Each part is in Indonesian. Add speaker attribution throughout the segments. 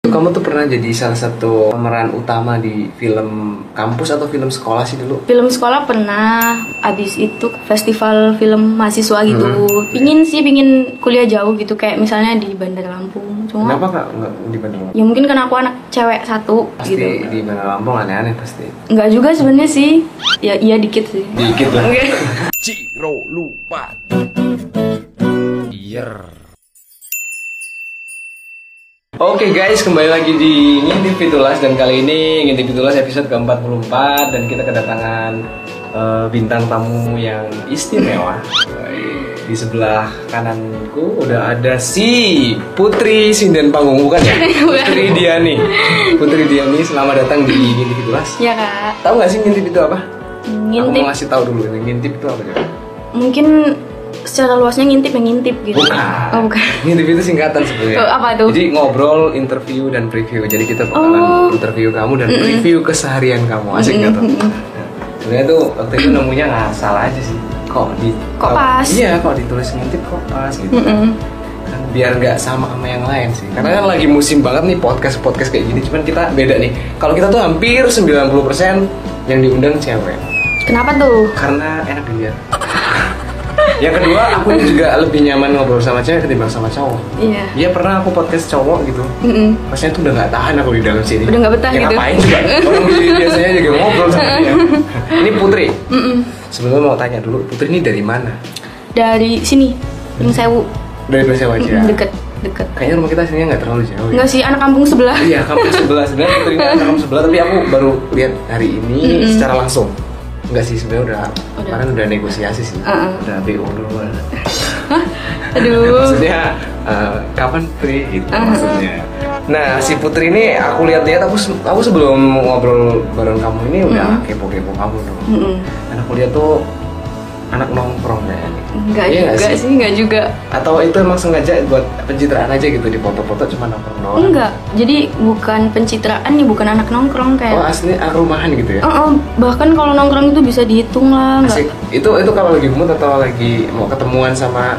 Speaker 1: Kamu tuh pernah jadi salah satu pemeran utama di film kampus atau film sekolah sih dulu?
Speaker 2: Film sekolah pernah, abis itu festival film mahasiswa gitu.
Speaker 1: Hmm.
Speaker 2: Pingin sih, pingin kuliah jauh gitu, kayak misalnya di Bandar Lampung. Cuma
Speaker 1: Kenapa nggak nggak di Bandar Lampung?
Speaker 2: ya mungkin karena aku anak cewek satu
Speaker 1: Pasti
Speaker 2: gitu.
Speaker 1: di Bandar Lampung aneh-aneh pasti.
Speaker 2: Nggak juga sebenarnya sih, ya iya dikit sih.
Speaker 1: Dikit lah.
Speaker 2: Oke.
Speaker 3: Ciro lupa. Yer.
Speaker 1: Oke guys, kembali lagi di Ngintip Fitulas dan kali ini Ngintip Fitulas episode ke-44 dan kita kedatangan eh, bintang tamu yang istimewa. Di sebelah kananku udah ada si Putri Sinden Panggung bukan ya? Putri Diani. Putri Diani, selamat datang di Ngintip Fitulas.
Speaker 2: Ya kak,
Speaker 1: Tahu nggak sih ngintip itu apa? Aku
Speaker 2: ngintip.
Speaker 1: mau ngasih tahu dulu ngintip itu apa coba?
Speaker 2: Mungkin secara luasnya ngintip yang ngintip gitu.
Speaker 1: Bukan.
Speaker 2: Oh bukan.
Speaker 1: Ngintip itu singkatan sebenarnya.
Speaker 2: Oh, apa tuh?
Speaker 1: Jadi ngobrol, interview dan preview. Jadi kita bakalan
Speaker 2: Oh.
Speaker 1: interview kamu dan preview keseharian kamu. Asik nggak tuh? Nah, Sebenarnya tuh waktu itu nemunya nggak salah aja sih. Kok di
Speaker 2: Kok pas? Mm.
Speaker 1: Iya, kok ditulis ngintip kok pas gitu.
Speaker 2: Mm-mm.
Speaker 1: Kan biar nggak sama sama yang lain sih. Karena kan lagi musim banget nih podcast podcast kayak gini. Cuman kita beda nih. Kalau kita tuh hampir 90% yang diundang cewek
Speaker 2: Kenapa tuh?
Speaker 1: karena enak dilihat. yang kedua, aku juga lebih nyaman ngobrol sama cewek ketimbang sama cowok.
Speaker 2: Iya.
Speaker 1: Iya pernah aku podcast cowok gitu.
Speaker 2: Mm-mm.
Speaker 1: Maksudnya tuh udah nggak tahan aku di dalam sini.
Speaker 2: Udah nggak betah
Speaker 1: Ya,
Speaker 2: gitu.
Speaker 1: Ngapain juga? Orang bi- biasanya juga ngobrol sama dia. Ini Putri.
Speaker 2: Mm-mm.
Speaker 1: Sebelum mau tanya dulu, Putri ini dari mana?
Speaker 2: Dari sini, yang sewu.
Speaker 1: Dari Persewa aja.
Speaker 2: Deket, deket.
Speaker 1: Kayaknya rumah kita sini nggak terlalu jauh. Ya?
Speaker 2: Enggak sih, anak kampung sebelah.
Speaker 1: Iya, kampus sebelah sebenarnya Putri ini anak kampus sebelah tapi aku baru lihat hari ini
Speaker 2: Mm-mm.
Speaker 1: secara langsung. Enggak sih sebenarnya udah,
Speaker 2: Udah.
Speaker 1: kemarin udah negosiasi sih.
Speaker 2: Uh-uh.
Speaker 1: Udah BO duluan.
Speaker 2: Aduh.
Speaker 1: Iya. Ya, maksudnya eh, kapan Putri gitu
Speaker 2: Ah.
Speaker 1: maksudnya nah si Putri ini aku lihat-lihat aku se- aku sebelum ngobrol bareng kamu ini udah
Speaker 2: Hmm.
Speaker 1: kepo-kepo kamu tuh
Speaker 2: Mm-mm.
Speaker 1: dan aku lihat tuh anak nongkrong kayaknya
Speaker 2: Enggak
Speaker 1: Iya nggak
Speaker 2: juga sih? enggak juga.
Speaker 1: atau itu emang sengaja buat pencitraan aja gitu di foto-foto cuma nongkrong doang
Speaker 2: Enggak. Jadi bukan pencitraan nih, bukan anak nongkrong
Speaker 1: oh
Speaker 2: kayak.
Speaker 1: asli ah, rumahan gitu ya
Speaker 2: Eh, eh, bahkan kalau nongkrong itu bisa dihitung lah,
Speaker 1: Asik.
Speaker 2: enggak
Speaker 1: itu itu kalau lagi mood atau lagi mau ketemuan sama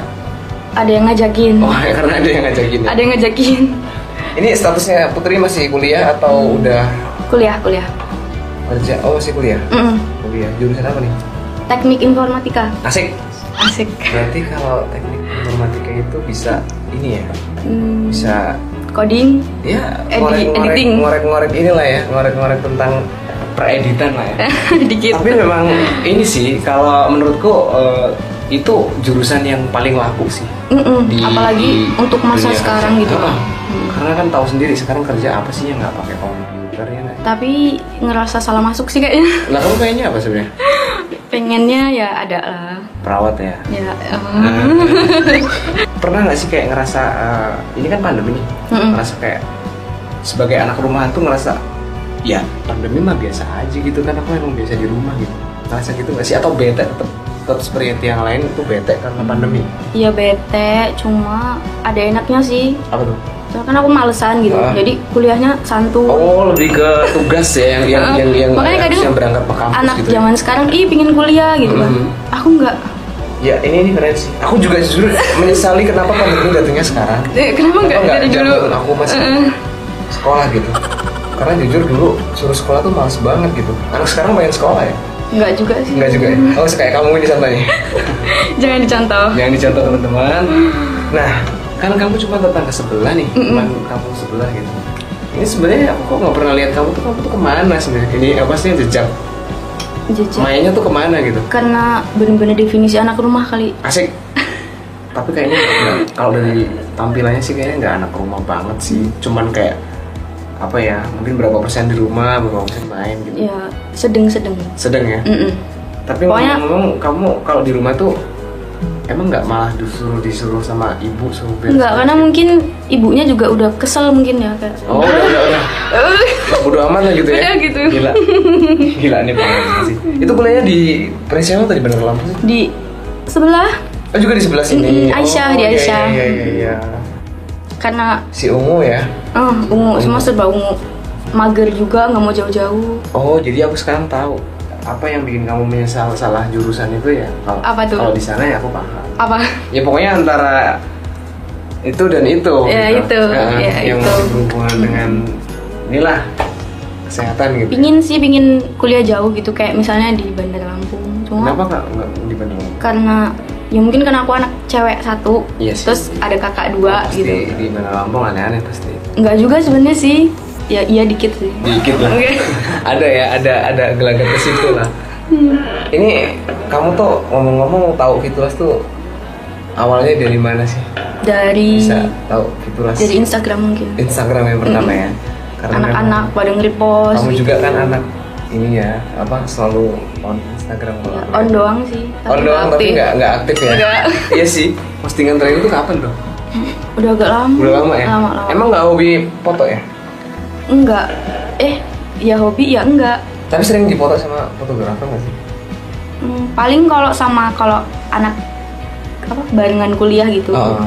Speaker 2: ada yang ngajakin.
Speaker 1: oh karena ada yang ngajakin ya.
Speaker 2: Hmm. Ada yang ngajakin.
Speaker 1: ini statusnya Putri masih kuliah
Speaker 2: Hmm.
Speaker 1: atau udah
Speaker 2: Kuliah, kuliah.
Speaker 1: kerja oh masih kuliah
Speaker 2: Mm-mm.
Speaker 1: kuliah Oh iya, jurusan apa nih
Speaker 2: Teknik informatika.
Speaker 1: Asik.
Speaker 2: Asik.
Speaker 1: Berarti kalau teknik informatika itu bisa ini ya,
Speaker 2: Hmm,
Speaker 1: bisa
Speaker 2: coding.
Speaker 1: ya
Speaker 2: Edi-
Speaker 1: ngorek-ngorek
Speaker 2: editing.
Speaker 1: ngorek-ngorek inilah ya, ngorek-ngorek tentang pereditan lah ya.
Speaker 2: Dikit.
Speaker 1: Tapi memang ini sih kalau menurutku eh, itu jurusan yang paling laku sih.
Speaker 2: Mm-mm.
Speaker 1: di-
Speaker 2: Hmm, Apalagi
Speaker 1: di
Speaker 2: untuk masa
Speaker 1: dunia
Speaker 2: sekarang
Speaker 1: kerja.
Speaker 2: gitu.
Speaker 1: Ah, Karena kan tahu sendiri sekarang kerja apa sih yang nggak pakai komputer ya nggak?
Speaker 2: Tapi ngerasa salah masuk sih kayaknya.
Speaker 1: Lah kamu kayaknya apa sebenarnya?
Speaker 2: Pengennya ya ada lah.
Speaker 1: Perawat ya.
Speaker 2: Ya. eh,
Speaker 1: Nah. pernah nggak sih kayak ngerasa eh, ini kan pandemi nih
Speaker 2: Mm-mm.
Speaker 1: ngerasa kayak sebagai anak rumahan tuh ngerasa ya pandemi mah biasa aja gitu kan aku emang biasa di rumah gitu ngerasa gitu nggak sih atau bete tetap tetap seperti yang lain itu bete karena pandemi
Speaker 2: Iya bete, cuma ada enaknya sih.
Speaker 1: apa tuh
Speaker 2: Soalnya kan aku malesan gitu,
Speaker 1: Ah.
Speaker 2: jadi kuliahnya santuy.
Speaker 1: oh lebih ke tugas ya yang yang
Speaker 2: Heeh.
Speaker 1: yang yang,
Speaker 2: Makanya
Speaker 1: yang,
Speaker 2: kadang
Speaker 1: yang berangkat ke kampus
Speaker 2: Anak
Speaker 1: gitu ya.
Speaker 2: zaman sekarang, ih pingin kuliah gitu kan.
Speaker 1: Mhm.
Speaker 2: Aku nggak.
Speaker 1: ya ini ini keren sih aku juga jujur menyesali kenapa pandemi datangnya sekarang
Speaker 2: Eh, kenapa nggak
Speaker 1: Kenapa
Speaker 2: dari
Speaker 1: zaman
Speaker 2: dulu?
Speaker 1: aku masih
Speaker 2: Eh,
Speaker 1: sekolah gitu karena jujur dulu suruh sekolah tuh males banget gitu anak sekarang pengen sekolah ya
Speaker 2: Nggak juga sih.
Speaker 1: Enggak juga ya? Oh, kayak kamu ini contohnya
Speaker 2: Jangan dicontoh.
Speaker 1: Yang dicontoh teman-teman Nah, kan kamu cuma tetangga sebelah nih Teman kamu sebelah gitu Ini sebenarnya aku kok nggak pernah lihat kamu tuh Kamu tuh kemana sebenarnya? Ini apa sih jejak? Ya.
Speaker 2: Jejak.
Speaker 1: Mainnya tuh kemana gitu?
Speaker 2: Karena bener-bener definisi anak rumah kali.
Speaker 1: Asik Tapi kayaknya nggak- kalau dari tampilannya sih kayaknya nggak anak rumah banget sih Cuman kayak apa ya mungkin berapa persen di rumah berapa persen main gitu
Speaker 2: Ya sedeng-sedeng.
Speaker 1: sedang ya
Speaker 2: Mm-mm.
Speaker 1: Tapi
Speaker 2: Mm. Pokoknya-
Speaker 1: ngomong-ngomong kamu kalau di rumah tuh emang nggak malah disuruh disuruh sama ibu suruh beres?
Speaker 2: Nggak, kan? karena mungkin ibunya juga udah kesel mungkin ya kayak.
Speaker 1: Oh udah udah udah. Bodo amat lah gitu ya.
Speaker 2: Udah gitu.
Speaker 1: Gila. Gila nih pengalaman sih. Itu kuliahnya di Presiden atau di Bandar Lampung sih?
Speaker 2: Di sebelah
Speaker 1: Oh juga di sebelah sini.
Speaker 2: Mm-mm, Aisyah, di
Speaker 1: iya,
Speaker 2: Aisyah.
Speaker 1: Iya iya iya.
Speaker 2: karena
Speaker 1: Si Ungu ya.
Speaker 2: Ah, ungu, semua serba ungu. Mager juga, nggak mau jauh-jauh.
Speaker 1: Oh jadi aku sekarang tahu apa yang bikin kamu menyesal salah jurusan itu ya. Kalau
Speaker 2: Apa tuh?
Speaker 1: Kalau di sana ya aku paham.
Speaker 2: Apa?
Speaker 1: Ya pokoknya antara itu dan itu gitu.
Speaker 2: Ya, itu. Ya,
Speaker 1: yang
Speaker 2: itu.
Speaker 1: masih berhubungan dengan inilah kesehatan gitu
Speaker 2: Pingin sih pingin kuliah jauh gitu kayak misalnya di Bandar Lampung. Cuma
Speaker 1: kenapa nggak nggak di Bandung
Speaker 2: karena ya mungkin karena aku anak cewek satu,
Speaker 1: Iya sih.
Speaker 2: terus ada kakak dua
Speaker 1: pasti
Speaker 2: gitu.
Speaker 1: di Bandar Lampung aneh-aneh pasti
Speaker 2: Enggak juga sebenarnya sih. Ya iya dikit sih.
Speaker 1: dikit lah
Speaker 2: Oke.
Speaker 1: ada ya ada ada gelagat ke situ lah
Speaker 2: Hmm.
Speaker 1: ini kamu tuh ngomong-ngomong tahu fitulas tuh awalnya dari mana sih
Speaker 2: Dari
Speaker 1: bisa tahu fitulas
Speaker 2: dari Instagram mungkin.
Speaker 1: Instagram yang pertama ya karena
Speaker 2: Anak-anak pada
Speaker 1: memang
Speaker 2: nge-repost
Speaker 1: kamu
Speaker 2: gitu.
Speaker 1: juga kan anak ini ya apa selalu on Instagram kalau
Speaker 2: Ya,
Speaker 1: aku
Speaker 2: on
Speaker 1: lihat.
Speaker 2: doang sih.
Speaker 1: on
Speaker 2: nggak
Speaker 1: doang tapi
Speaker 2: aktif.
Speaker 1: nggak nggak aktif ya
Speaker 2: Nggak.
Speaker 1: iya sih postingan terakhir itu kapan tuh
Speaker 2: Udah agak lama.
Speaker 1: udah lama ya
Speaker 2: Lama, lama.
Speaker 1: emang nggak hobi foto ya
Speaker 2: Enggak. Eh, ya hobi ya enggak.
Speaker 1: tapi sering dipoto sama fotografer nggak sih
Speaker 2: Hmm, paling kalau sama kalau anak apa barengan kuliah gitu.
Speaker 1: Oh.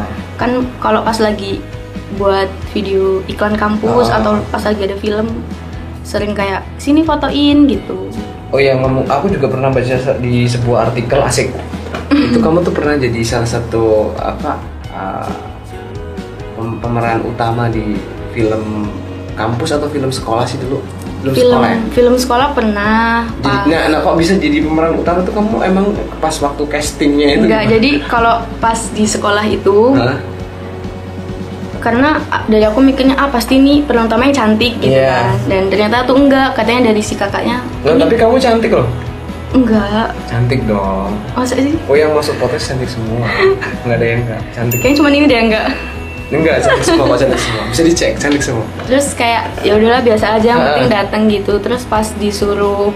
Speaker 2: Kan kalau pas lagi buat video iklan kampus
Speaker 1: Oh.
Speaker 2: atau pas lagi ada film sering kayak sini fotoin gitu.
Speaker 1: Oh ya ngomong, aku juga pernah baca se- di sebuah artikel asik. Itu kamu tuh pernah jadi salah satu apa uh, pem- pemeran utama di film kampus atau film sekolah sih dulu? Film,
Speaker 2: film
Speaker 1: sekolah. Ya?
Speaker 2: film sekolah pernah
Speaker 1: Jadi,
Speaker 2: pas
Speaker 1: nah, nah, kok bisa jadi pemeran utama tuh kamu emang pas waktu castingnya itu?
Speaker 2: enggak
Speaker 1: gimana?
Speaker 2: jadi kalau pas di sekolah itu
Speaker 1: Hah?
Speaker 2: karena ah, dari aku mikirnya ah pasti nih peran utamanya cantik gitu
Speaker 1: Iya.
Speaker 2: kan dan ternyata tuh enggak katanya dari si kakaknya
Speaker 1: Loh, Nah, tapi kamu cantik loh.
Speaker 2: enggak
Speaker 1: Cantik dong.
Speaker 2: masa sih
Speaker 1: Oh yang masuk potes cantik semua. Nggak ada yang nggak cantik.
Speaker 2: kayaknya cuma ini deh yang enggak
Speaker 1: Enggak cantik semua, kok cantik semua. Bisa dicek cantik semua.
Speaker 2: terus kayak ya udahlah biasa aja yang
Speaker 1: Ah.
Speaker 2: penting datang gitu terus pas disuruh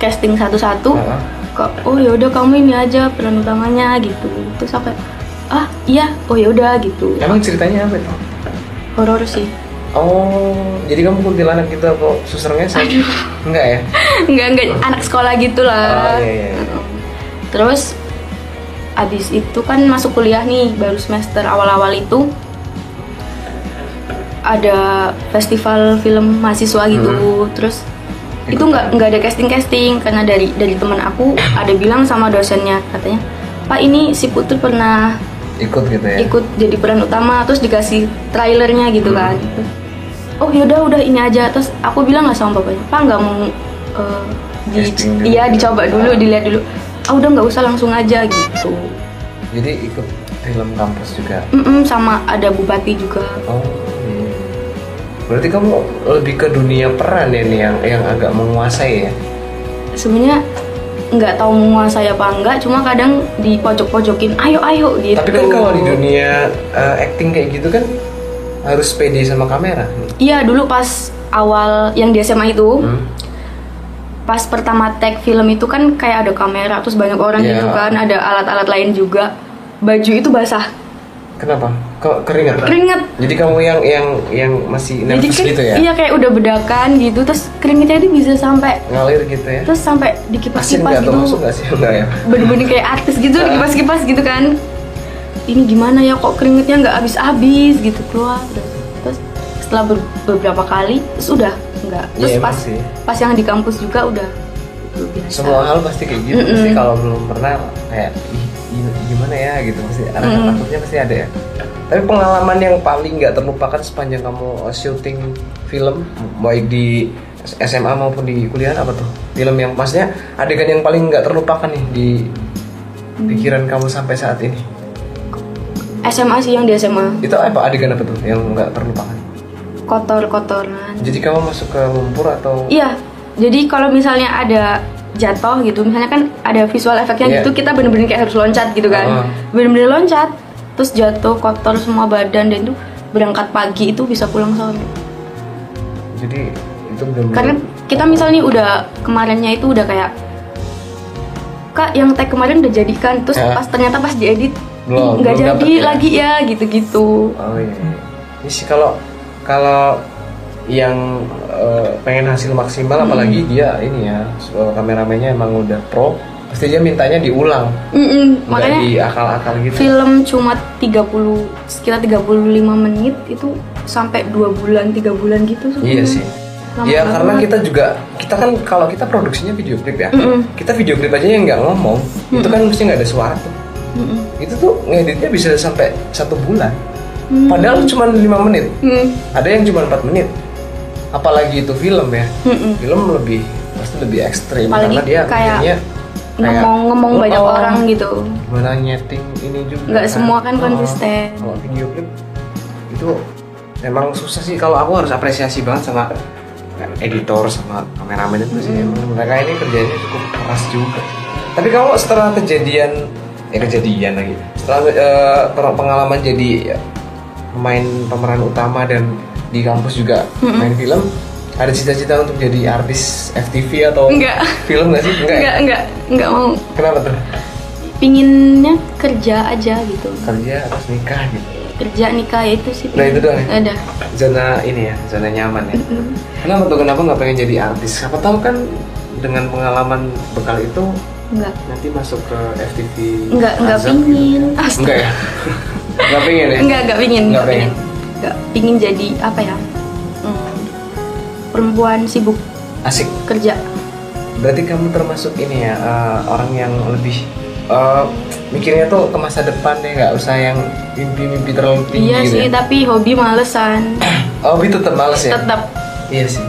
Speaker 2: casting satu-satu
Speaker 1: Ah.
Speaker 2: kok oh ya udah kamu ini aja peran utamanya gitu terus aku kayak, ah iya oh ya udah gitu
Speaker 1: Emang ceritanya apa itu?
Speaker 2: horor sih
Speaker 1: Oh, jadi kamu kuntilanak gitu apa susernya Aduh. Enggak ya?
Speaker 2: Enggak, enggak, anak sekolah
Speaker 1: Oh,
Speaker 2: gitu lah.
Speaker 1: iya, iya, iya.
Speaker 2: Terus abis itu kan masuk kuliah nih, baru semester awal-awal itu ada festival film mahasiswa gitu.
Speaker 1: Hmm.
Speaker 2: Terus itu nggak nggak ada casting casting karena dari dari teman aku ada bilang sama dosennya katanya pak ini si putri pernah
Speaker 1: Ikut gitu ya?
Speaker 2: ikut jadi peran utama terus dikasih trailernya gitu kan
Speaker 1: Hmm.
Speaker 2: Terus, oh yaudah udah ini aja terus aku bilang nggak sama bapaknya pak nggak mau eh, di
Speaker 1: Casting dulu.
Speaker 2: iya dicoba dulu
Speaker 1: Ah.
Speaker 2: dilihat dulu ah udah nggak usah langsung aja gitu
Speaker 1: Jadi ikut film kampus juga.
Speaker 2: Mm-mm, sama ada bupati juga
Speaker 1: Oh, iya. Berarti kamu lebih ke dunia peran ya nih yang yang agak menguasai ya?
Speaker 2: sebenarnya nggak tahu menguasai apa enggak cuma kadang di pojok pojokin ayo ayo gitu
Speaker 1: Tapi kan kalau di dunia eh, acting kayak gitu kan harus pede sama kamera.
Speaker 2: iya dulu pas awal yang di SMA itu
Speaker 1: Hmm.
Speaker 2: pas pertama tag film itu kan kayak ada kamera terus banyak orang
Speaker 1: Iya.
Speaker 2: gitu kan ada alat-alat lain juga baju itu basah
Speaker 1: Kenapa? Kok keringat?
Speaker 2: keringet
Speaker 1: Jadi kamu yang yang yang masih nervous
Speaker 2: kan-
Speaker 1: gitu ya?
Speaker 2: iya kayak udah bedakan gitu terus keringetnya itu bisa sampai
Speaker 1: Ngalir gitu ya?
Speaker 2: terus sampai
Speaker 1: Asin
Speaker 2: dikipas-kipas
Speaker 1: nggak
Speaker 2: gitu
Speaker 1: tuh masuk nggak sih? Enggak ya?
Speaker 2: bener-bener kayak artis gitu dikipas-kipas gitu kan ini gimana ya kok keringetnya nggak habis-habis gitu keluar terus, terus setelah ber- beberapa kali terus udah nggak terus
Speaker 1: Iya, emang
Speaker 2: pas
Speaker 1: sih.
Speaker 2: pas yang di kampus juga udah udah biasa.
Speaker 1: semua hal pasti kayak gitu sih kalau belum pernah kayak "Ih, gi- gimana ya gitu pasti ada takutnya pasti ada ya tapi pengalaman yang paling nggak terlupakan sepanjang kamu uh, syuting film baik di SMA maupun di kuliah apa tuh film yang maksudnya adegan yang paling nggak terlupakan nih di pikiran kamu sampai saat ini
Speaker 2: SMA sih yang di SMA
Speaker 1: itu apa adegan apa tuh yang nggak terlupakan
Speaker 2: kotor-kotoran
Speaker 1: jadi kamu masuk ke lumpur atau
Speaker 2: Iya, jadi kalau misalnya ada jatuh gitu, misalnya kan ada visual
Speaker 1: Iya.
Speaker 2: efeknya gitu, kita bener-bener kayak harus loncat gitu kan,
Speaker 1: Heeh.
Speaker 2: bener-bener loncat, terus jatuh kotor semua badan dan itu berangkat pagi itu bisa pulang sore.
Speaker 1: Hmm. jadi itu belum
Speaker 2: Karena kita misalnya udah kemarinnya itu udah kayak kak yang tag kemarin udah jadikan, terus
Speaker 1: Heeh.
Speaker 2: pas ternyata pas diedit
Speaker 1: Belum,
Speaker 2: "Ih, nggak
Speaker 1: belum
Speaker 2: jadi
Speaker 1: dapet ya."
Speaker 2: lagi ya gitu-gitu.
Speaker 1: Oh iya. Ini sih kalau kalau yang eh, pengen hasil
Speaker 2: Hmm.
Speaker 1: maksimal apalagi dia ini ya so, kameramennya emang udah pro pasti dia mintanya diulang
Speaker 2: Mm-mm,
Speaker 1: nggak
Speaker 2: makanya
Speaker 1: di akal-akal gitu
Speaker 2: film cuma 30 sekitar 35 menit itu sampai dua bulan tiga bulan gitu
Speaker 1: iya
Speaker 2: sebenarnya.
Speaker 1: sih
Speaker 2: Lama
Speaker 1: Iya
Speaker 2: banget.
Speaker 1: karena kita juga kita kan kalau kita produksinya video klip ya
Speaker 2: Mm-mm.
Speaker 1: kita video klip aja yang nggak ngomong itu kan mesti nggak ada suara tuh
Speaker 2: Mm-mm.
Speaker 1: itu tuh ngeditnya bisa sampai satu bulan Padahal cuma 5 menit.
Speaker 2: Hmm.
Speaker 1: Ada yang cuma 4 menit. Apalagi itu film ya.
Speaker 2: Mm-mm.
Speaker 1: Film lebih pasti lebih ekstrim
Speaker 2: Apalagi
Speaker 1: karena dia
Speaker 2: kayak
Speaker 1: akhirnya kayak oh,
Speaker 2: ngomong-ngomong banyak
Speaker 1: ngomong,
Speaker 2: orang gitu
Speaker 1: Gimana nyeting ini juga.
Speaker 2: Nggak semua kan
Speaker 1: Oh,
Speaker 2: konsisten.
Speaker 1: Kalau video klip itu emang susah sih kalau aku harus apresiasi banget sama kan, editor sama kameramen itu sih emang
Speaker 2: Hmm.
Speaker 1: mereka ini kerjanya cukup keras juga tapi kamu setelah kejadian eh kejadian lagi setelah eh, per- pengalaman jadi ya, pemain pemeran utama dan di kampus juga
Speaker 2: Hmm.
Speaker 1: main film ada cita-cita untuk jadi artis FTV atau
Speaker 2: Nggak.
Speaker 1: film nggak sih enggak,
Speaker 2: nggak
Speaker 1: ya?
Speaker 2: nggak nggak mau
Speaker 1: kenapa tuh
Speaker 2: pinginnya kerja aja gitu
Speaker 1: kerja terus nikah gitu
Speaker 2: kerja nikah ya itu sih
Speaker 1: Nah, itu doang ya?
Speaker 2: ada
Speaker 1: zona ini ya zona nyaman ya kenapa tuh kenapa nggak pengen jadi artis siapa tahu kan dengan pengalaman bekal itu
Speaker 2: nggak
Speaker 1: nanti masuk ke FTV
Speaker 2: nggak nggak
Speaker 1: Azab gitu.
Speaker 2: pingin
Speaker 1: enggak ya nggak pengen ya
Speaker 2: Enggak, enggak pingin.
Speaker 1: Enggak
Speaker 2: Enggak
Speaker 1: pengen.
Speaker 2: pingin. Enggak pingin jadi apa ya? hmm, perempuan sibuk
Speaker 1: asik
Speaker 2: kerja.
Speaker 1: berarti kamu termasuk ini ya eh, orang yang lebih eh, mikirnya tuh ke masa depan deh nggak usah yang mimpi-mimpi terlalu tinggi
Speaker 2: iya
Speaker 1: gitu
Speaker 2: sih,
Speaker 1: ya.
Speaker 2: tapi hobi malesan.
Speaker 1: oh itu tetap males ya
Speaker 2: Tetap
Speaker 1: Iya sih.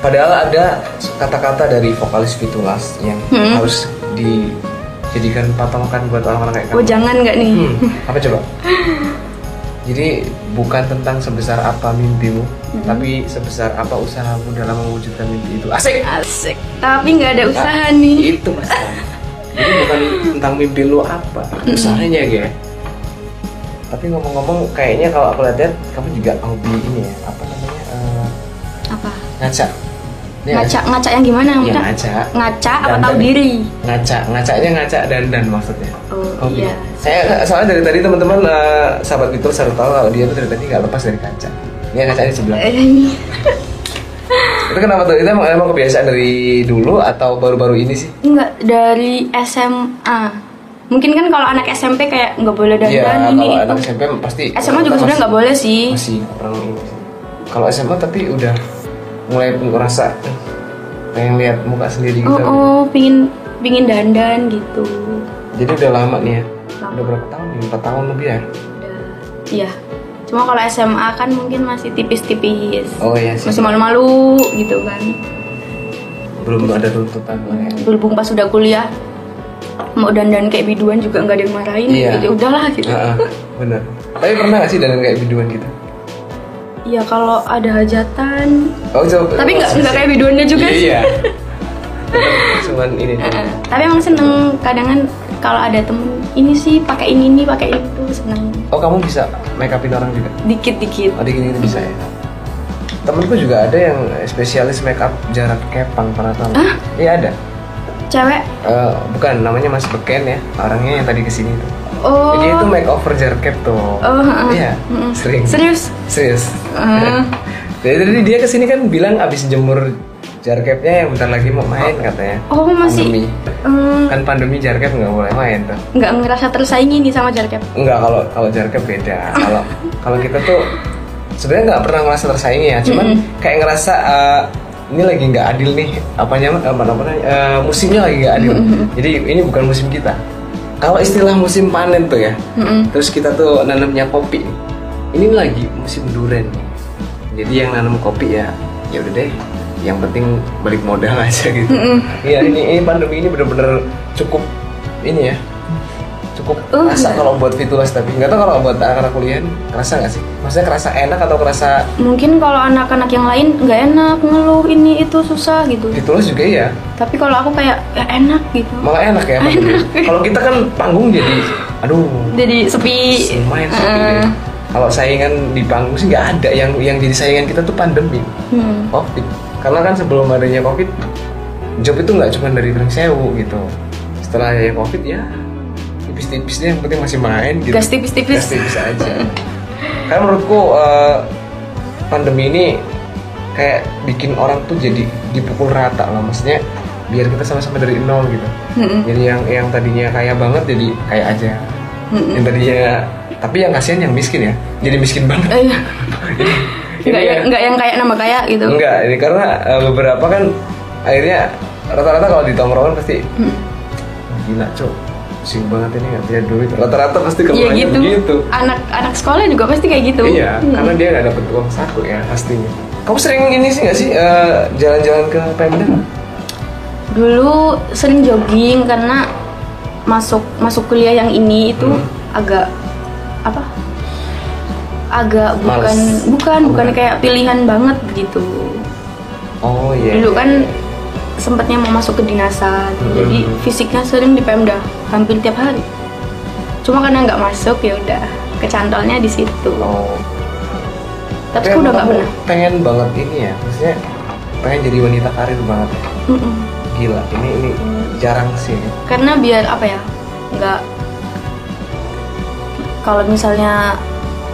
Speaker 1: Padahal ada kata-kata dari vokalis Fitulas yang
Speaker 2: Hmm.
Speaker 1: harus dijadikan patokan buat orang-orang kayak kamu.
Speaker 2: oh jangan nggak nih.
Speaker 1: Hmm, apa coba? Jadi bukan tentang sebesar apa mimpimu,
Speaker 2: Hmm.
Speaker 1: tapi sebesar apa usahamu dalam mewujudkan mimpi itu. Asik.
Speaker 2: Asik. Tapi nggak ada usaha nih.
Speaker 1: Itu masalah. Jadi bukan tentang mimpi lu apa,
Speaker 2: Hmm.
Speaker 1: usahanya gitu ya. Tapi ngomong-ngomong, kayaknya kalau aku lihat kamu juga hobi ini ya, apa namanya? eh,
Speaker 2: Apa?
Speaker 1: ngaca. Iya nggak
Speaker 2: Ngaca ngaca yang gimana?
Speaker 1: Iya
Speaker 2: Maksudnya,
Speaker 1: ngaca.
Speaker 2: Ngaca apa
Speaker 1: Dandan
Speaker 2: tahu
Speaker 1: ya?
Speaker 2: diri?
Speaker 1: Ngaca, ngacanya ngaca dandan maksudnya.
Speaker 2: Oh,
Speaker 1: Hobi.
Speaker 2: iya.
Speaker 1: Saya soalnya dari tadi teman-teman eh, sahabat Beatles selalu tahu kalau dia tuh dari tadi nggak lepas dari kaca. Dia ngaca di sebelah.
Speaker 2: Eh, ini.
Speaker 1: Itu kenapa tuh? Itu emang, emang kebiasaan dari dulu atau baru-baru ini sih?
Speaker 2: Enggak dari SMA. Mungkin kan kalau anak SMP kayak nggak boleh dandan
Speaker 1: Iya,
Speaker 2: ini.
Speaker 1: kalau
Speaker 2: itu.
Speaker 1: anak SMP pasti.
Speaker 2: SMA juga sebenarnya nggak boleh sih. Oh,
Speaker 1: Masih kurang ini. sih. Kalau SMA tapi udah mulai ngerasa eh, pengen lihat muka sendiri gitu.
Speaker 2: Oh, oh, pingin pingin dandan gitu.
Speaker 1: Jadi udah lama nih ya.
Speaker 2: Lama.
Speaker 1: Udah berapa tahun? nih? Empat tahun lebih ya.
Speaker 2: Iya. Cuma kalau SMA kan mungkin masih tipis-tipis.
Speaker 1: Oh iya sih.
Speaker 2: Masih malu-malu gitu kan.
Speaker 1: Belum ada tuntutan lah ya.
Speaker 2: Berhubung pas sudah kuliah mau dandan kayak biduan juga nggak ada yang marahin.
Speaker 1: Iya.
Speaker 2: Jadi udahlah gitu.
Speaker 1: Heeh, bener. Tapi pernah gak sih dandan kayak biduan gitu?
Speaker 2: Iya kalau ada hajatan.
Speaker 1: Oh, coba.
Speaker 2: Tapi nggak nggak kayak biduannya juga sih. Eh.
Speaker 1: Iya. Tetep Cuman ini.
Speaker 2: Heeh. Tapi emang seneng kadang kan kalau ada temen ini sih pakai ini ini pakai itu seneng
Speaker 1: Oh, kamu bisa make upin orang juga?
Speaker 2: dikit-dikit.
Speaker 1: Oh, gini gini bisa ya. Temenku juga ada yang spesialis make up jarak kepang pernah tahu? Iya ada.
Speaker 2: Cewek
Speaker 1: Eh, bukan namanya Mas Beken ya orangnya yang tadi kesini tuh.
Speaker 2: oh
Speaker 1: Jadi itu make over jarak kep tuh.
Speaker 2: Oh, heeh.
Speaker 1: Iya,
Speaker 2: Heeh.
Speaker 1: sering.
Speaker 2: serius
Speaker 1: Serius.
Speaker 2: Eh.
Speaker 1: Jadi tadi dia kesini kan bilang abis jemur jarkepnya yang bentar lagi mau main katanya.
Speaker 2: oh
Speaker 1: Pandemi.
Speaker 2: masih Hmm,
Speaker 1: Kan pandemi jarkep nggak boleh main tuh.
Speaker 2: nggak ngerasa tersaingi nih sama Jarkep.
Speaker 1: Enggak kalau kalau jarkep beda. Kalau kalau kita tuh sebenarnya nggak pernah ngerasa tersaingi ya. Cuman kayak ngerasa eh, ini lagi nggak adil nih. Apanya eh, apa namanya eh, musimnya lagi nggak adil. Jadi ini bukan musim kita. Kalau istilah musim panen tuh ya.
Speaker 2: Mm-mm.
Speaker 1: Terus kita tuh nanamnya kopi. Ini lagi musim duren. Jadi yang nanam kopi ya, ya udah deh. Yang penting balik modal aja gitu. Iya ini, ini pandemi ini bener-bener cukup ini ya. Cukup
Speaker 2: Uh.
Speaker 1: kerasa kalau buat fitulas tapi nggak tahu kalau buat anak-anak kuliah kerasa nggak sih? Maksudnya kerasa enak atau kerasa
Speaker 2: Mungkin kalau anak-anak yang lain nggak enak ngeluh ini itu susah gitu.
Speaker 1: fitulas juga ya?
Speaker 2: Tapi kalau aku kayak ya enak gitu.
Speaker 1: Malah enak ya. pandemi. Kalau kita kan panggung jadi, aduh,
Speaker 2: Jadi eh. sepi.
Speaker 1: lumayan sepi
Speaker 2: Heeh.
Speaker 1: ya. Kalau saingan di panggung sih nggak ada yang yang jadi saingan kita tuh pandemi,
Speaker 2: Hmm.
Speaker 1: covid. Karena kan sebelum adanya covid, job itu nggak cuma dari Pring Sewu gitu. Setelah adanya covid ya tipis-tipisnya yang penting masih main gitu.
Speaker 2: Gas tipis-tipis.
Speaker 1: Gas tipis aja. Karena menurutku eh, pandemi ini kayak bikin orang tuh jadi dipukul rata lah maksudnya biar kita sama-sama dari nol gitu.
Speaker 2: Mm-mm.
Speaker 1: Jadi yang yang tadinya kaya banget jadi kaya aja. Yang tadinya tapi yang kasihan yang miskin ya. Jadi miskin banget.
Speaker 2: Eh, iya.
Speaker 1: Ini
Speaker 2: Nggak
Speaker 1: ya.
Speaker 2: yang nggak yang kayak nama kayak gitu.
Speaker 1: Enggak, ini karena eh, beberapa
Speaker 2: Mm.
Speaker 1: kan akhirnya rata-rata kalau di tongkrongan pasti gila, Cuk. pusing banget ini nggak punya duit rata-rata pasti
Speaker 2: Iya
Speaker 1: kebanyakan
Speaker 2: gitu.
Speaker 1: gitu.
Speaker 2: Anak anak sekolah juga pasti kayak gitu.
Speaker 1: Iya,
Speaker 2: Hmm.
Speaker 1: karena dia nggak dapet uang saku ya pastinya. Kamu sering ini sih nggak sih eh, jalan-jalan ke Pemda?
Speaker 2: Dulu sering jogging karena masuk masuk kuliah yang ini itu
Speaker 1: Hmm.
Speaker 2: agak apa? Agak bukan
Speaker 1: Males.
Speaker 2: bukan
Speaker 1: Oh,
Speaker 2: bukan
Speaker 1: bukan.
Speaker 2: kayak pilihan banget gitu.
Speaker 1: Oh iya.
Speaker 2: Dulu kan sempatnya mau masuk ke dinasan,
Speaker 1: Hmm.
Speaker 2: jadi fisiknya sering di Pemda, hampir tiap hari. Cuma karena nggak masuk ya udah kecantolnya di situ.
Speaker 1: Oh.
Speaker 2: Tapi aku udah
Speaker 1: emang
Speaker 2: nggak
Speaker 1: kamu
Speaker 2: pernah.
Speaker 1: Pengen banget ini ya, maksudnya pengen jadi wanita karir banget. ya.
Speaker 2: Mm-mm.
Speaker 1: Gila, ini ini jarang sih. ini.
Speaker 2: Karena biar apa ya, nggak kalau misalnya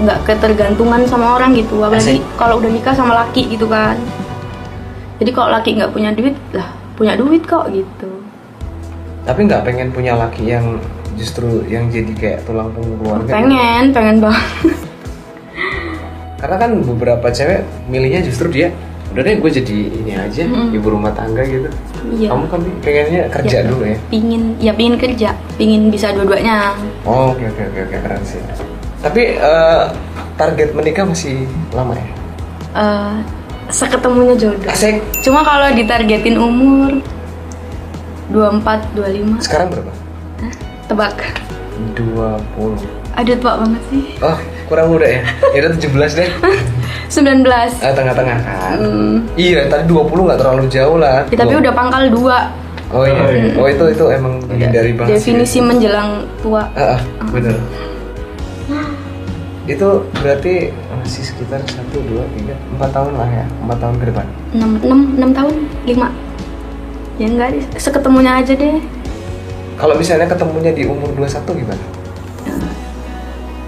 Speaker 2: nggak ketergantungan sama orang gitu, apalagi
Speaker 1: Asik.
Speaker 2: kalau udah nikah sama laki gitu kan. Jadi kalau laki nggak punya duit lah punya duit kok gitu.
Speaker 1: Tapi nggak pengen punya laki yang justru yang jadi kayak tulang punggung keluarga. gitu.
Speaker 2: Pengen pengen banget.
Speaker 1: Karena kan beberapa cewek milihnya justru dia udah deh gue jadi ini aja
Speaker 2: Mm-mm.
Speaker 1: ibu rumah tangga gitu.
Speaker 2: Hmm. Iya.
Speaker 1: Kamu kan pengennya kerja
Speaker 2: Ya.
Speaker 1: dulu ya.
Speaker 2: pingin ya pingin kerja pingin bisa dua-duanya
Speaker 1: Oh, oke oke oke oke keren sih. Tapi eh, target menikah masih lama ya?
Speaker 2: Eh, seketemunya jodoh
Speaker 1: Asik.
Speaker 2: cuma kalau ditargetin umur 24 25
Speaker 1: Sekarang berapa?
Speaker 2: Hah? tebak
Speaker 1: 20.
Speaker 2: aduh tebak banget sih
Speaker 1: Oh, kurang muda ya. Ya udah 17 deh.
Speaker 2: 19
Speaker 1: Eh, tengah-tengah kan.
Speaker 2: Hmm.
Speaker 1: Iya, tadi 20 nggak terlalu jauh lah.
Speaker 2: Ya, tapi udah pangkal dua
Speaker 1: Oh iya. Oh itu itu emang dari banget. sih.
Speaker 2: definisi menjelang tua
Speaker 1: Ah, ah, bener. Itu berarti masih sekitar 1 2 3 4 tahun lah ya. 4 tahun ke depan.
Speaker 2: 6, 6, tahun 5 ya enggak deh seketemunya aja deh
Speaker 1: Kalau misalnya ketemunya di umur 21 gimana?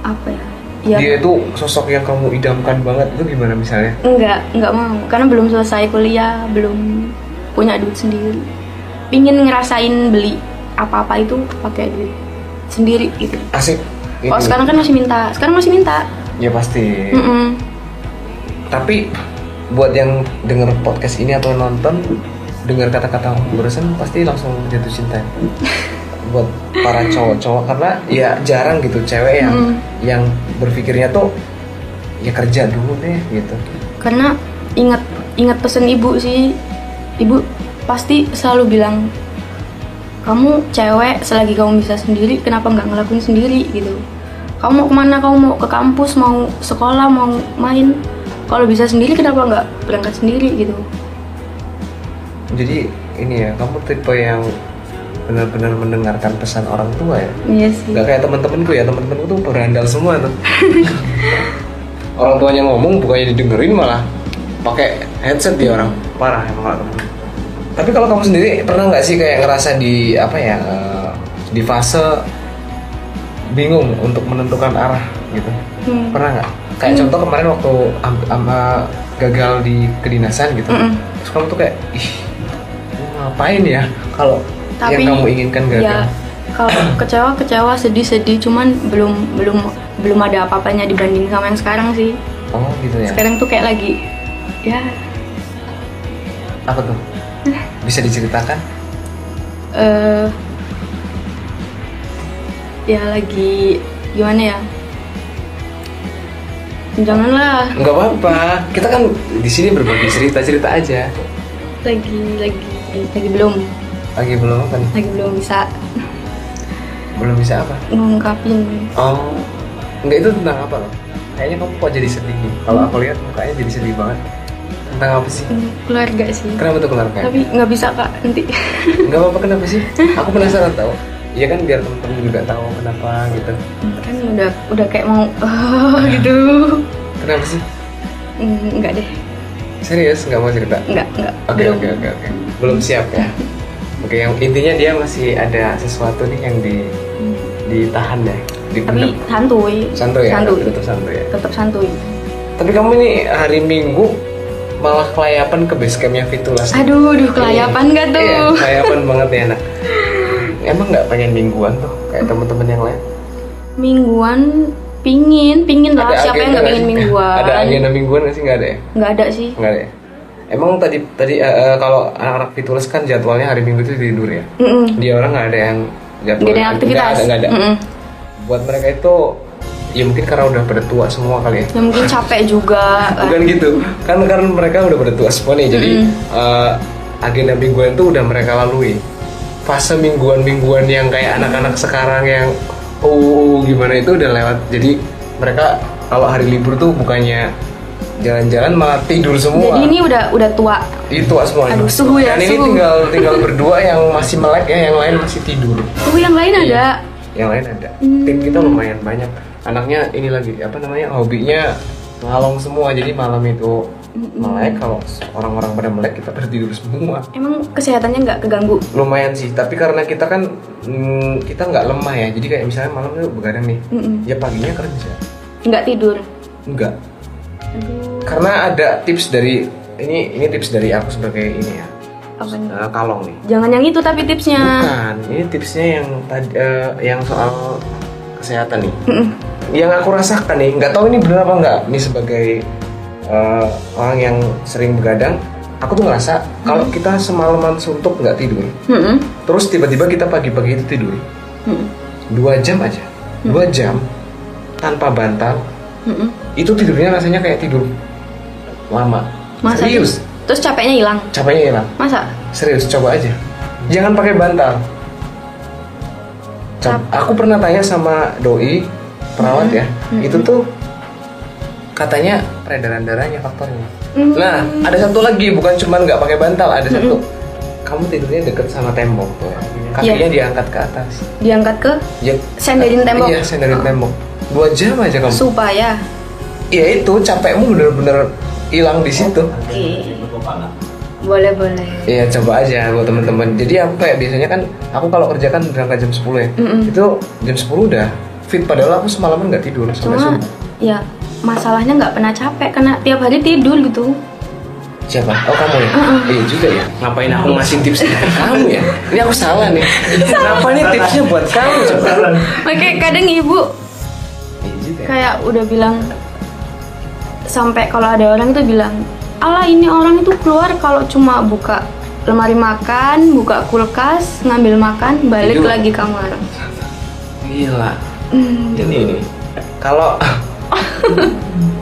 Speaker 2: apa ya ya
Speaker 1: Dia itu sosok yang kamu idamkan banget itu gimana misalnya?
Speaker 2: Enggak, enggak mau. Karena belum selesai kuliah, belum punya duit sendiri. Pingin ngerasain beli apa-apa itu pakai duit sendiri gitu.
Speaker 1: asik
Speaker 2: Kalau
Speaker 1: iya.
Speaker 2: sekarang kan masih minta, sekarang masih minta.
Speaker 1: ya pasti
Speaker 2: Mm-mm.
Speaker 1: tapi buat yang denger podcast ini atau nonton dengar kata-kata barusan pasti langsung jatuh cinta buat para cowok-cowok karena ya jarang gitu cewek yang
Speaker 2: Mm.
Speaker 1: yang berpikirnya tuh ya kerja dulu deh gitu
Speaker 2: Karena ingat ingat pesan ibu sih. Ibu pasti selalu bilang kamu cewek selagi kamu bisa sendiri kenapa nggak ngelakuin sendiri gitu kamu mau kemana kamu mau ke kampus mau sekolah mau main kalau bisa sendiri kenapa nggak berangkat sendiri gitu
Speaker 1: jadi ini ya kamu tipe yang benar-benar mendengarkan pesan orang tua ya
Speaker 2: Iya sih.
Speaker 1: nggak kayak temen-temenku ya temen-temenku tuh berandal semua tuh orang tuanya ngomong bukannya didengerin malah pakai headset dia orang parah emang temen tapi kalau kamu sendiri pernah nggak sih kayak ngerasa di apa ya eh, di fase bingung untuk menentukan arah gitu
Speaker 2: Hmm.
Speaker 1: pernah nggak kayak contoh kemarin waktu am- ama gagal di kedinasan gitu
Speaker 2: Mm-mm.
Speaker 1: terus kamu tuh kayak ih ngapain ya kalau yang
Speaker 2: Tapi
Speaker 1: kamu inginkan gagal
Speaker 2: ya kalau kecewa kecewa sedih sedih cuman belum belum belum ada apa-apanya dibanding sama yang sekarang sih.
Speaker 1: oh gitu ya
Speaker 2: Sekarang tuh kayak lagi ya
Speaker 1: apa tuh bisa diceritakan
Speaker 2: eh ya lagi gimana ya? Janganlah
Speaker 1: nggak apa-apa kita kan di sini berbagi cerita cerita aja
Speaker 2: lagi lagi lagi belum
Speaker 1: lagi belum apa nih
Speaker 2: lagi belum bisa
Speaker 1: belum bisa apa
Speaker 2: ngungkapin
Speaker 1: oh nggak itu tentang apa loh kayaknya kamu kok jadi sedih nih kalau aku lihat mukanya jadi sedih banget tentang apa sih
Speaker 2: Hmm, keluarga sih.
Speaker 1: kenapa tuh keluarga
Speaker 2: Tapi nggak bisa kak nanti.
Speaker 1: nggak apa-apa kenapa sih aku penasaran tau Iya kan biar temen-temen juga tahu kenapa gitu
Speaker 2: kan udah udah kayak mau gitu
Speaker 1: kenapa sih
Speaker 2: Mm, enggak deh
Speaker 1: serius nggak mau cerita
Speaker 2: enggak enggak
Speaker 1: Oke
Speaker 2: belum
Speaker 1: oke oke oke. Belum siap ya. Oke, yang intinya dia masih ada sesuatu nih yang di ditahan ya,
Speaker 2: tapi
Speaker 1: dipendam.
Speaker 2: santuy
Speaker 1: Santuy ya,
Speaker 2: santuy
Speaker 1: tetap santuy ya.
Speaker 2: tetap santuy
Speaker 1: Tapi kamu ini hari Minggu malah kelayapan ke base campnya Fitulas.
Speaker 2: aduh duh kelayapan gak tuh
Speaker 1: Iya, kelayapan banget ya anak. Emang nggak pengen mingguan tuh kayak teman-teman yang lain?
Speaker 2: mingguan pingin pingin lah siapa yang nggak
Speaker 1: agenda
Speaker 2: pingin
Speaker 1: sih?
Speaker 2: mingguan
Speaker 1: Ada agenda mingguan nggak sih nggak ada ya?
Speaker 2: nggak ada sih
Speaker 1: Nggak ada ya. Emang tadi tadi eh, eh, kalau anak-anak Fitulas kan jadwalnya hari Minggu itu tidur ya?
Speaker 2: Mm-mm.
Speaker 1: dia orang nggak ada yang Nggak
Speaker 2: nggak ada
Speaker 1: boleh.
Speaker 2: yang aktivitas
Speaker 1: Nggak ada, nggak ada.
Speaker 2: Mm-mm.
Speaker 1: Buat mereka itu ya mungkin karena udah pada tua semua kali ya.
Speaker 2: ya mungkin capek juga kan.
Speaker 1: Bukan gitu. Kan karena mereka udah pada tua semua nih. Jadi eh, agenda mingguan itu udah mereka lalui. Fase mingguan-mingguan yang kayak anak-anak sekarang yang oh gimana itu udah lewat. Jadi mereka kalau hari libur tuh bukannya jalan-jalan malah tidur semua.
Speaker 2: jadi ini udah udah tua
Speaker 1: Itu tua semua.
Speaker 2: Aduh, suhu ya,
Speaker 1: Dan ini
Speaker 2: suhu.
Speaker 1: tinggal tinggal berdua yang masih melek ya, yang lain masih tidur.
Speaker 2: oh
Speaker 1: Iya.
Speaker 2: yang lain ada
Speaker 1: Yang lain ada.
Speaker 2: Hmm.
Speaker 1: Tim kita lumayan banyak. Anaknya ini lagi apa namanya? Hobinya ngalong semua. Jadi malam itu
Speaker 2: Hmm.
Speaker 1: melek kalau orang-orang pada melek kita pada tidur semua.
Speaker 2: emang kesehatannya nggak keganggu
Speaker 1: Lumayan sih, tapi karena kita kan mm, kita nggak lemah ya. Jadi kayak misalnya malam itu begadang nih.
Speaker 2: Mm-mm.
Speaker 1: Ya paginya kerja.
Speaker 2: nggak tidur
Speaker 1: Enggak.
Speaker 2: aduh
Speaker 1: Karena ada tips dari ini ini tips dari aku sebagai ini ya.
Speaker 2: apa nih
Speaker 1: eh, kalong nih.
Speaker 2: jangan yang itu tapi tipsnya
Speaker 1: Bukan, ini tipsnya yang tadi eh, yang soal kesehatan nih.
Speaker 2: Mm-mm.
Speaker 1: Yang aku rasakan nih, nggak tahu ini benar apa nggak. Ini sebagai eh, orang yang sering begadang, aku tuh ngerasa kalau kita semalaman suntuk nggak tidur,
Speaker 2: Mm-mm.
Speaker 1: terus tiba-tiba kita pagi-pagi itu tidur,
Speaker 2: Mm-mm.
Speaker 1: dua jam aja, dua jam tanpa bantal,
Speaker 2: Mm-mm.
Speaker 1: itu tidurnya rasanya kayak tidur lama.
Speaker 2: masa
Speaker 1: Serius,
Speaker 2: terus capeknya hilang
Speaker 1: capeknya hilang.
Speaker 2: masa
Speaker 1: Serius, coba aja. Jangan pakai bantal. Co-
Speaker 2: Tapi-
Speaker 1: Aku pernah tanya sama doi perawat
Speaker 2: Mm-hmm.
Speaker 1: ya, itu tuh katanya peredaran darahnya faktornya.
Speaker 2: Mm.
Speaker 1: Nah, ada satu lagi bukan cuma nggak pakai bantal, ada
Speaker 2: Mm-hmm.
Speaker 1: satu kamu tidurnya deket sama tembok tuh, ya.
Speaker 2: Iya.
Speaker 1: kakinya diangkat ke atas.
Speaker 2: diangkat ke
Speaker 1: Ya,
Speaker 2: Senderin tembok?
Speaker 1: Iya, senderin tembok. Dua jam aja kamu.
Speaker 2: supaya
Speaker 1: Iya itu capekmu bener-bener hilang di situ.
Speaker 2: oke boleh boleh
Speaker 1: Iya coba aja buat temen-temen Jadi aku kayak biasanya kan Aku kalau kerja kan berangkat jam 10 ya
Speaker 2: Mm-mm.
Speaker 1: Itu jam 10 udah fit Padahal aku semalaman nggak tidur sampai
Speaker 2: cuma
Speaker 1: subuh.
Speaker 2: ya masalahnya nggak pernah capek karena tiap hari tidur gitu
Speaker 1: Siapa? Oh kamu ya? Iya juga ya Ngapain aku ngasih tips ini ke kamu ya? Ini aku salah nih Kenapa nih tipsnya buat kamu coba?
Speaker 2: makanya kadang ibu
Speaker 1: Iya juga ya.
Speaker 2: kayak udah bilang sampai kalau ada orang itu bilang ala ini orang itu keluar kalau cuma buka lemari makan buka kulkas ngambil makan balik
Speaker 1: Tidur.
Speaker 2: lagi kamar
Speaker 1: Gila
Speaker 2: Hmm.
Speaker 1: Ini ini Kalau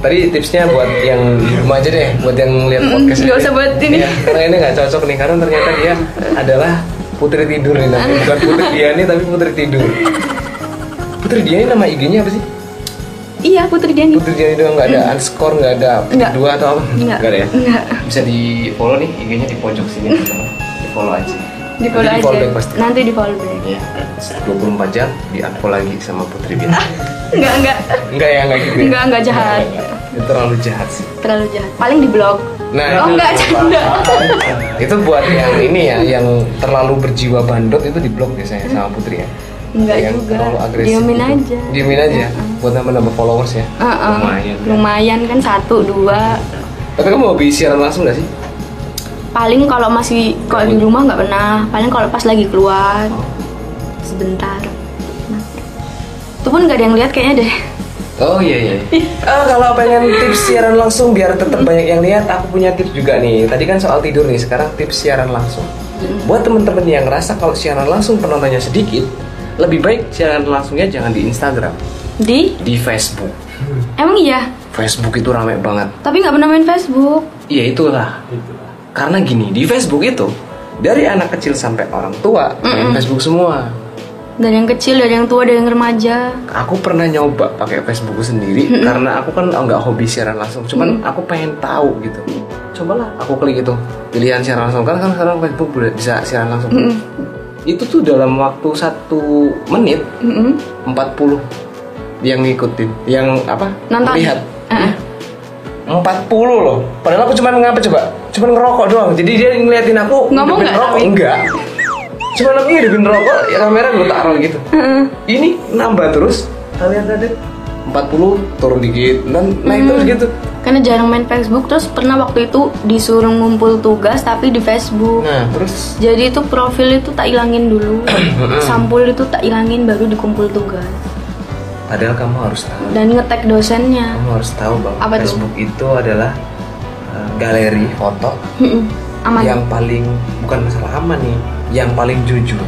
Speaker 1: Tadi tipsnya buat yang di rumah aja deh Buat yang lihat
Speaker 2: Mm-mm,
Speaker 1: podcast
Speaker 2: nggak usah buat ini.
Speaker 1: Iya, Karena ini nggak cocok nih Karena ternyata dia adalah putri tidur nih namanya. Bukan putri Diani tapi putri tidur Putri Diani nama IG-nya apa sih?
Speaker 2: iya putri Diani
Speaker 1: Putri Diani doang nggak ada underscore nggak ada putri
Speaker 2: Nggak.
Speaker 1: dua atau apa?
Speaker 2: Nggak.
Speaker 1: ada ya?
Speaker 2: Nggak.
Speaker 1: Bisa di follow nih IG-nya di pojok sini
Speaker 2: Mm.
Speaker 1: Di follow aja
Speaker 2: di
Speaker 1: Nanti di
Speaker 2: follow aja
Speaker 1: follow back pasti.
Speaker 2: nanti di follow back
Speaker 1: Iya 24 jam di unfollow lagi sama Putri Diani
Speaker 2: nggak nggak
Speaker 1: Enggak ya, enggak gitu. ya?
Speaker 2: Enggak, enggak jahat.
Speaker 1: Enggak, enggak. Itu terlalu jahat sih.
Speaker 2: terlalu jahat paling di blog
Speaker 1: Nah,
Speaker 2: oh nggak canda
Speaker 1: itu buat yang ini ya, yang terlalu berjiwa bandot itu di blok biasanya sama Putri ya.
Speaker 2: Enggak
Speaker 1: yang
Speaker 2: juga.
Speaker 1: terlalu agresif.
Speaker 2: Diamin
Speaker 1: gitu.
Speaker 2: aja.
Speaker 1: Diamin aja buat nambah-nambah followers ya.
Speaker 2: Uh-uh.
Speaker 1: Lumayan.
Speaker 2: lumayan kan satu dua
Speaker 1: Tapi kamu hobi siaran langsung gak sih?
Speaker 2: paling kalau masih kalau di rumah nggak pernah paling kalau pas lagi keluar sebentar Nah. itu pun nggak ada yang lihat kayaknya deh
Speaker 1: Oh iya iya. Ah, kalau pengen tips siaran langsung biar tetap banyak yang lihat, aku punya tips juga nih. Tadi kan soal tidur nih, sekarang tips siaran langsung. Buat temen-temen yang ngerasa kalau siaran langsung penontonnya sedikit, lebih baik siaran langsungnya jangan di Instagram,
Speaker 2: di
Speaker 1: di Facebook.
Speaker 2: emang iya
Speaker 1: Facebook itu rame banget.
Speaker 2: tapi nggak pernah main Facebook
Speaker 1: Ya itulah. Karena gini, di Facebook itu dari anak kecil sampai orang tua main Facebook semua.
Speaker 2: dari yang kecil dari yang tua dari yang remaja
Speaker 1: Aku pernah nyoba pakai Facebookku sendiri karena aku kan nggak hobi siaran langsung. Cuman aku pengen tahu gitu. Cobalah aku klik itu pilihan siaran langsung kan kan sekarang Facebook udah bisa siaran langsung. Itu tuh dalam waktu satu menit
Speaker 2: Mm-mm.
Speaker 1: 40 yang ngikutin, yang apa?
Speaker 2: Nonton.
Speaker 1: Lihat.
Speaker 2: Ah.
Speaker 1: 40 loh. Padahal aku cuma ngapa coba? Cuma ngerokok doang. Jadi dia ngeliatin aku hidupin
Speaker 2: Ngomong nggak
Speaker 1: rokok.
Speaker 2: tapi?
Speaker 1: Enggak. Cuma aku hidupin rokok, ya kamera gue taruh gitu. Ini nambah terus. Kalian tadi 40 turun dikit, dan
Speaker 2: Hmm.
Speaker 1: naik terus gitu.
Speaker 2: karena jarang main Facebook terus pernah waktu itu disuruh ngumpul tugas tapi di Facebook
Speaker 1: Nah, terus
Speaker 2: jadi itu profil itu tak ilangin dulu sampul itu tak ilangin baru dikumpul tugas
Speaker 1: padahal kamu harus tahu.
Speaker 2: dan ngetek dosennya
Speaker 1: Kamu harus tahu bahwa
Speaker 2: Apa tuh?
Speaker 1: Facebook itu adalah uh, galeri foto
Speaker 2: Mm-mm. aman
Speaker 1: Iya. yang paling bukan masalah aman nih, yang paling jujur.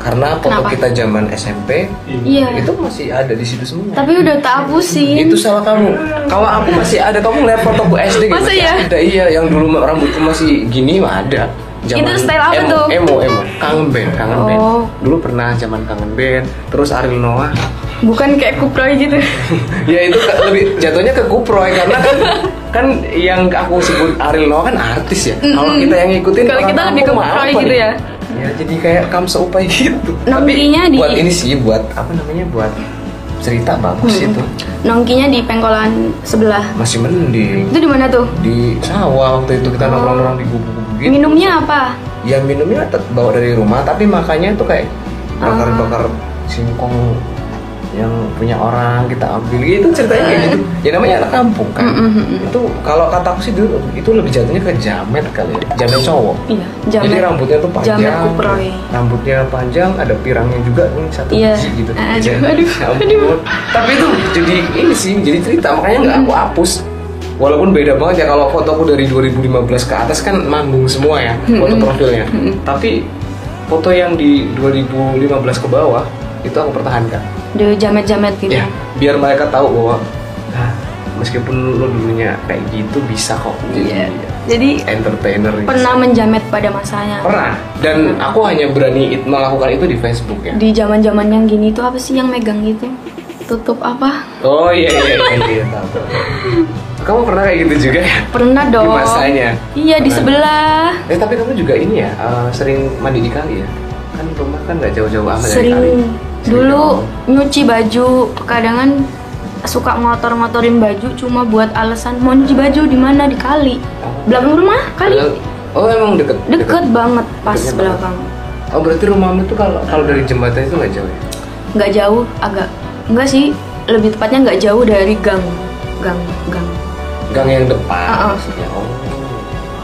Speaker 1: Karena foto
Speaker 2: Kenapa?
Speaker 1: kita zaman SMP
Speaker 2: Iya.
Speaker 1: itu masih ada di situ semua.
Speaker 2: Tapi udah tak hapusin.
Speaker 1: itu salah kamu. Kalau aku masih ada, kamu lihat fotoku SD gitu.
Speaker 2: Masa ya?
Speaker 1: Ada iya, yang dulu rambutku masih gini mah ada.
Speaker 2: Itu style apa
Speaker 1: emo,
Speaker 2: tuh?
Speaker 1: Emo, emo, kangen band, kangen
Speaker 2: Oh.
Speaker 1: band. Dulu pernah zaman kangen band, terus Ariel Noah.
Speaker 2: Bukan kayak kuproy gitu.
Speaker 1: ya itu ke- lebih jatuhnya ke kuproy karena kan kan yang aku sebut Ariel Noah kan artis ya. Kalau
Speaker 2: Mm-mm.
Speaker 1: kita yang ngikutin
Speaker 2: Kalau
Speaker 1: orang
Speaker 2: kita lebih
Speaker 1: kampung
Speaker 2: ke
Speaker 1: mah
Speaker 2: kuproy
Speaker 1: apa
Speaker 2: gitu
Speaker 1: nih?
Speaker 2: ya.
Speaker 1: Ya jadi kayak kamu seupai gitu.
Speaker 2: Nongkrinya di-
Speaker 1: buat ini sih buat apa namanya buat cerita bagus itu.
Speaker 2: Nongkinya di pengkolan sebelah.
Speaker 1: Masih mending.
Speaker 2: Itu di mana tuh?
Speaker 1: di sawah waktu itu kita
Speaker 2: Oh.
Speaker 1: nongkrong-nongkrong di gubu-gubu gitu.
Speaker 2: Minumnya apa?
Speaker 1: Ya minumnya tetap bawa dari rumah tapi makannya itu kayak bakar-bakar
Speaker 2: Ah.
Speaker 1: singkong yang punya orang kita ambil gitu ceritanya kayak gitu. Ya namanya anak kampung kan. Itu kalau kataku sih dulu itu lebih jatuhnya ke jamet kali ya. Jamet cowok.
Speaker 2: Iya,
Speaker 1: Jadi
Speaker 2: jamet.
Speaker 1: rambutnya tuh panjang.
Speaker 2: jamet kuproy.
Speaker 1: Rambutnya panjang, ada pirangnya juga ini satu
Speaker 2: Iya.
Speaker 1: biji gitu.
Speaker 2: Aduh,
Speaker 1: Ya
Speaker 2: aduh,
Speaker 1: ampun.
Speaker 2: aduh.
Speaker 1: Tapi itu jadi ini sih jadi cerita, makanya nggak aku hapus. Walaupun beda banget ya kalau fotoku dari 2015 ke atas kan manggung semua ya
Speaker 2: Hmm.
Speaker 1: foto profilnya. Tapi foto yang di 2015 ke bawah itu aku pertahankan.
Speaker 2: Di jamet-jamet gitu.
Speaker 1: Ya, biar mereka tahu bahwa "Ah, meskipun lo dulunya kayak gitu bisa kok
Speaker 2: Iya.
Speaker 1: jadi
Speaker 2: Jadi
Speaker 1: entertainer. gitu.
Speaker 2: pernah menjamet pada masanya.
Speaker 1: Pernah. Dan aku hanya berani it- melakukan itu di Facebook ya.
Speaker 2: Di zaman-zaman yang gini tuh apa sih yang megang gitu? Tutup apa?
Speaker 1: Oh iya iya iya. iya tahu. kamu pernah kayak gitu juga ya?
Speaker 2: Pernah dong.
Speaker 1: Di masanya.
Speaker 2: Iya di
Speaker 1: Pernah.
Speaker 2: sebelah.
Speaker 1: Eh tapi kamu juga ini ya eh, sering mandi di kali ya? Kan rumah kan nggak jauh-jauh amat dari kali.
Speaker 2: Sering dulu nyuci baju, kadangan suka ngotor-ngotorin baju cuma buat alasan mau nyuci baju di mana di kali. Belakang rumah kali.
Speaker 1: Padahal- Oh emang deket.
Speaker 2: kan Deket banget pas
Speaker 1: Deketnya
Speaker 2: belakang.
Speaker 1: Oh berarti rumahmu tuh kalau kalau dari jembatan itu nggak jauh ya?
Speaker 2: Nggak jauh agak. Enggak sih, lebih tepatnya nggak jauh dari gang. Gang, gang.
Speaker 1: Gang yang depan.
Speaker 2: Ah, ah.
Speaker 1: maksudnya. Oh.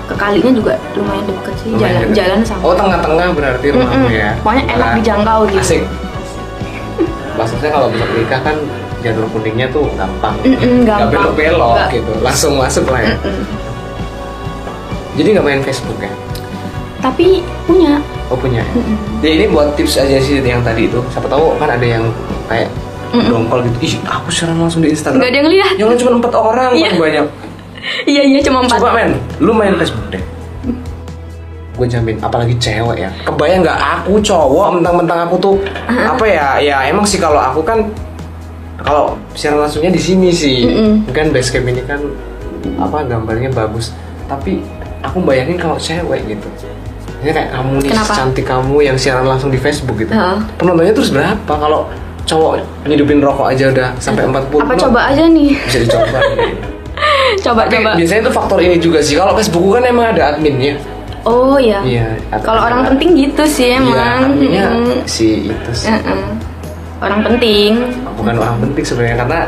Speaker 2: Ke kalinya juga lumayan deket sih
Speaker 1: Lumayan
Speaker 2: jalan
Speaker 1: deket.
Speaker 2: jalan sama.
Speaker 1: Oh tengah-tengah berarti rumahmu
Speaker 2: Mm-mm.
Speaker 1: ya?
Speaker 2: Pokoknya enak
Speaker 1: Nah,
Speaker 2: dijangkau gitu.
Speaker 1: Asik. Maksudnya kalau besok nikah kan jalur kuningnya tuh gampang.
Speaker 2: Mm-mm,
Speaker 1: Nggak
Speaker 2: gampang.
Speaker 1: belok-belok
Speaker 2: Nggak.
Speaker 1: gitu. Langsung masuk lah ya.
Speaker 2: Mm-mm.
Speaker 1: Jadi nggak main Facebook ya?
Speaker 2: Tapi punya
Speaker 1: Oh punya ya? Ya ini buat tips aja sih yang tadi itu. Siapa tahu kan ada yang kayak dongkol gitu. Ih, aku serang langsung di Instagram.
Speaker 2: nggak ada yang lihat.
Speaker 1: Yang lu cuma empat orang,
Speaker 2: Iya.
Speaker 1: paling banyak.
Speaker 2: Iya iya cuma empat.
Speaker 1: Coba men, lu main Facebook deh. Gue jamin, apalagi cewek ya. Kebayang nggak aku cowok, mentang-mentang aku tuh apa ya? Ya emang sih kalau aku kan kalau siaran langsungnya di sini sih.
Speaker 2: Mm-mm.
Speaker 1: Kan basecamp ini kan apa gambarnya bagus. Tapi aku bayangin kalau cewek gitu. Ini kayak kamu nih
Speaker 2: Kenapa?
Speaker 1: cantik kamu yang siaran langsung di Facebook gitu.
Speaker 2: Heeh.
Speaker 1: Penontonnya terus berapa kalau cowok nyidupin rokok aja udah sampai 40.
Speaker 2: Apa
Speaker 1: no,
Speaker 2: coba aja nih?
Speaker 1: Bisa dicoba.
Speaker 2: coba
Speaker 1: Tapi
Speaker 2: coba.
Speaker 1: biasanya itu faktor ini juga sih. Kalau Facebook kan emang ada adminnya.
Speaker 2: Oh iya.
Speaker 1: Iya, atau-
Speaker 2: Kalau orang penting gitu sih
Speaker 1: Iya,
Speaker 2: emang.
Speaker 1: adminnya
Speaker 2: Mm-mm.
Speaker 1: si itu sih.
Speaker 2: Mm-mm. Orang penting.
Speaker 1: Bukan orang penting sebenarnya karena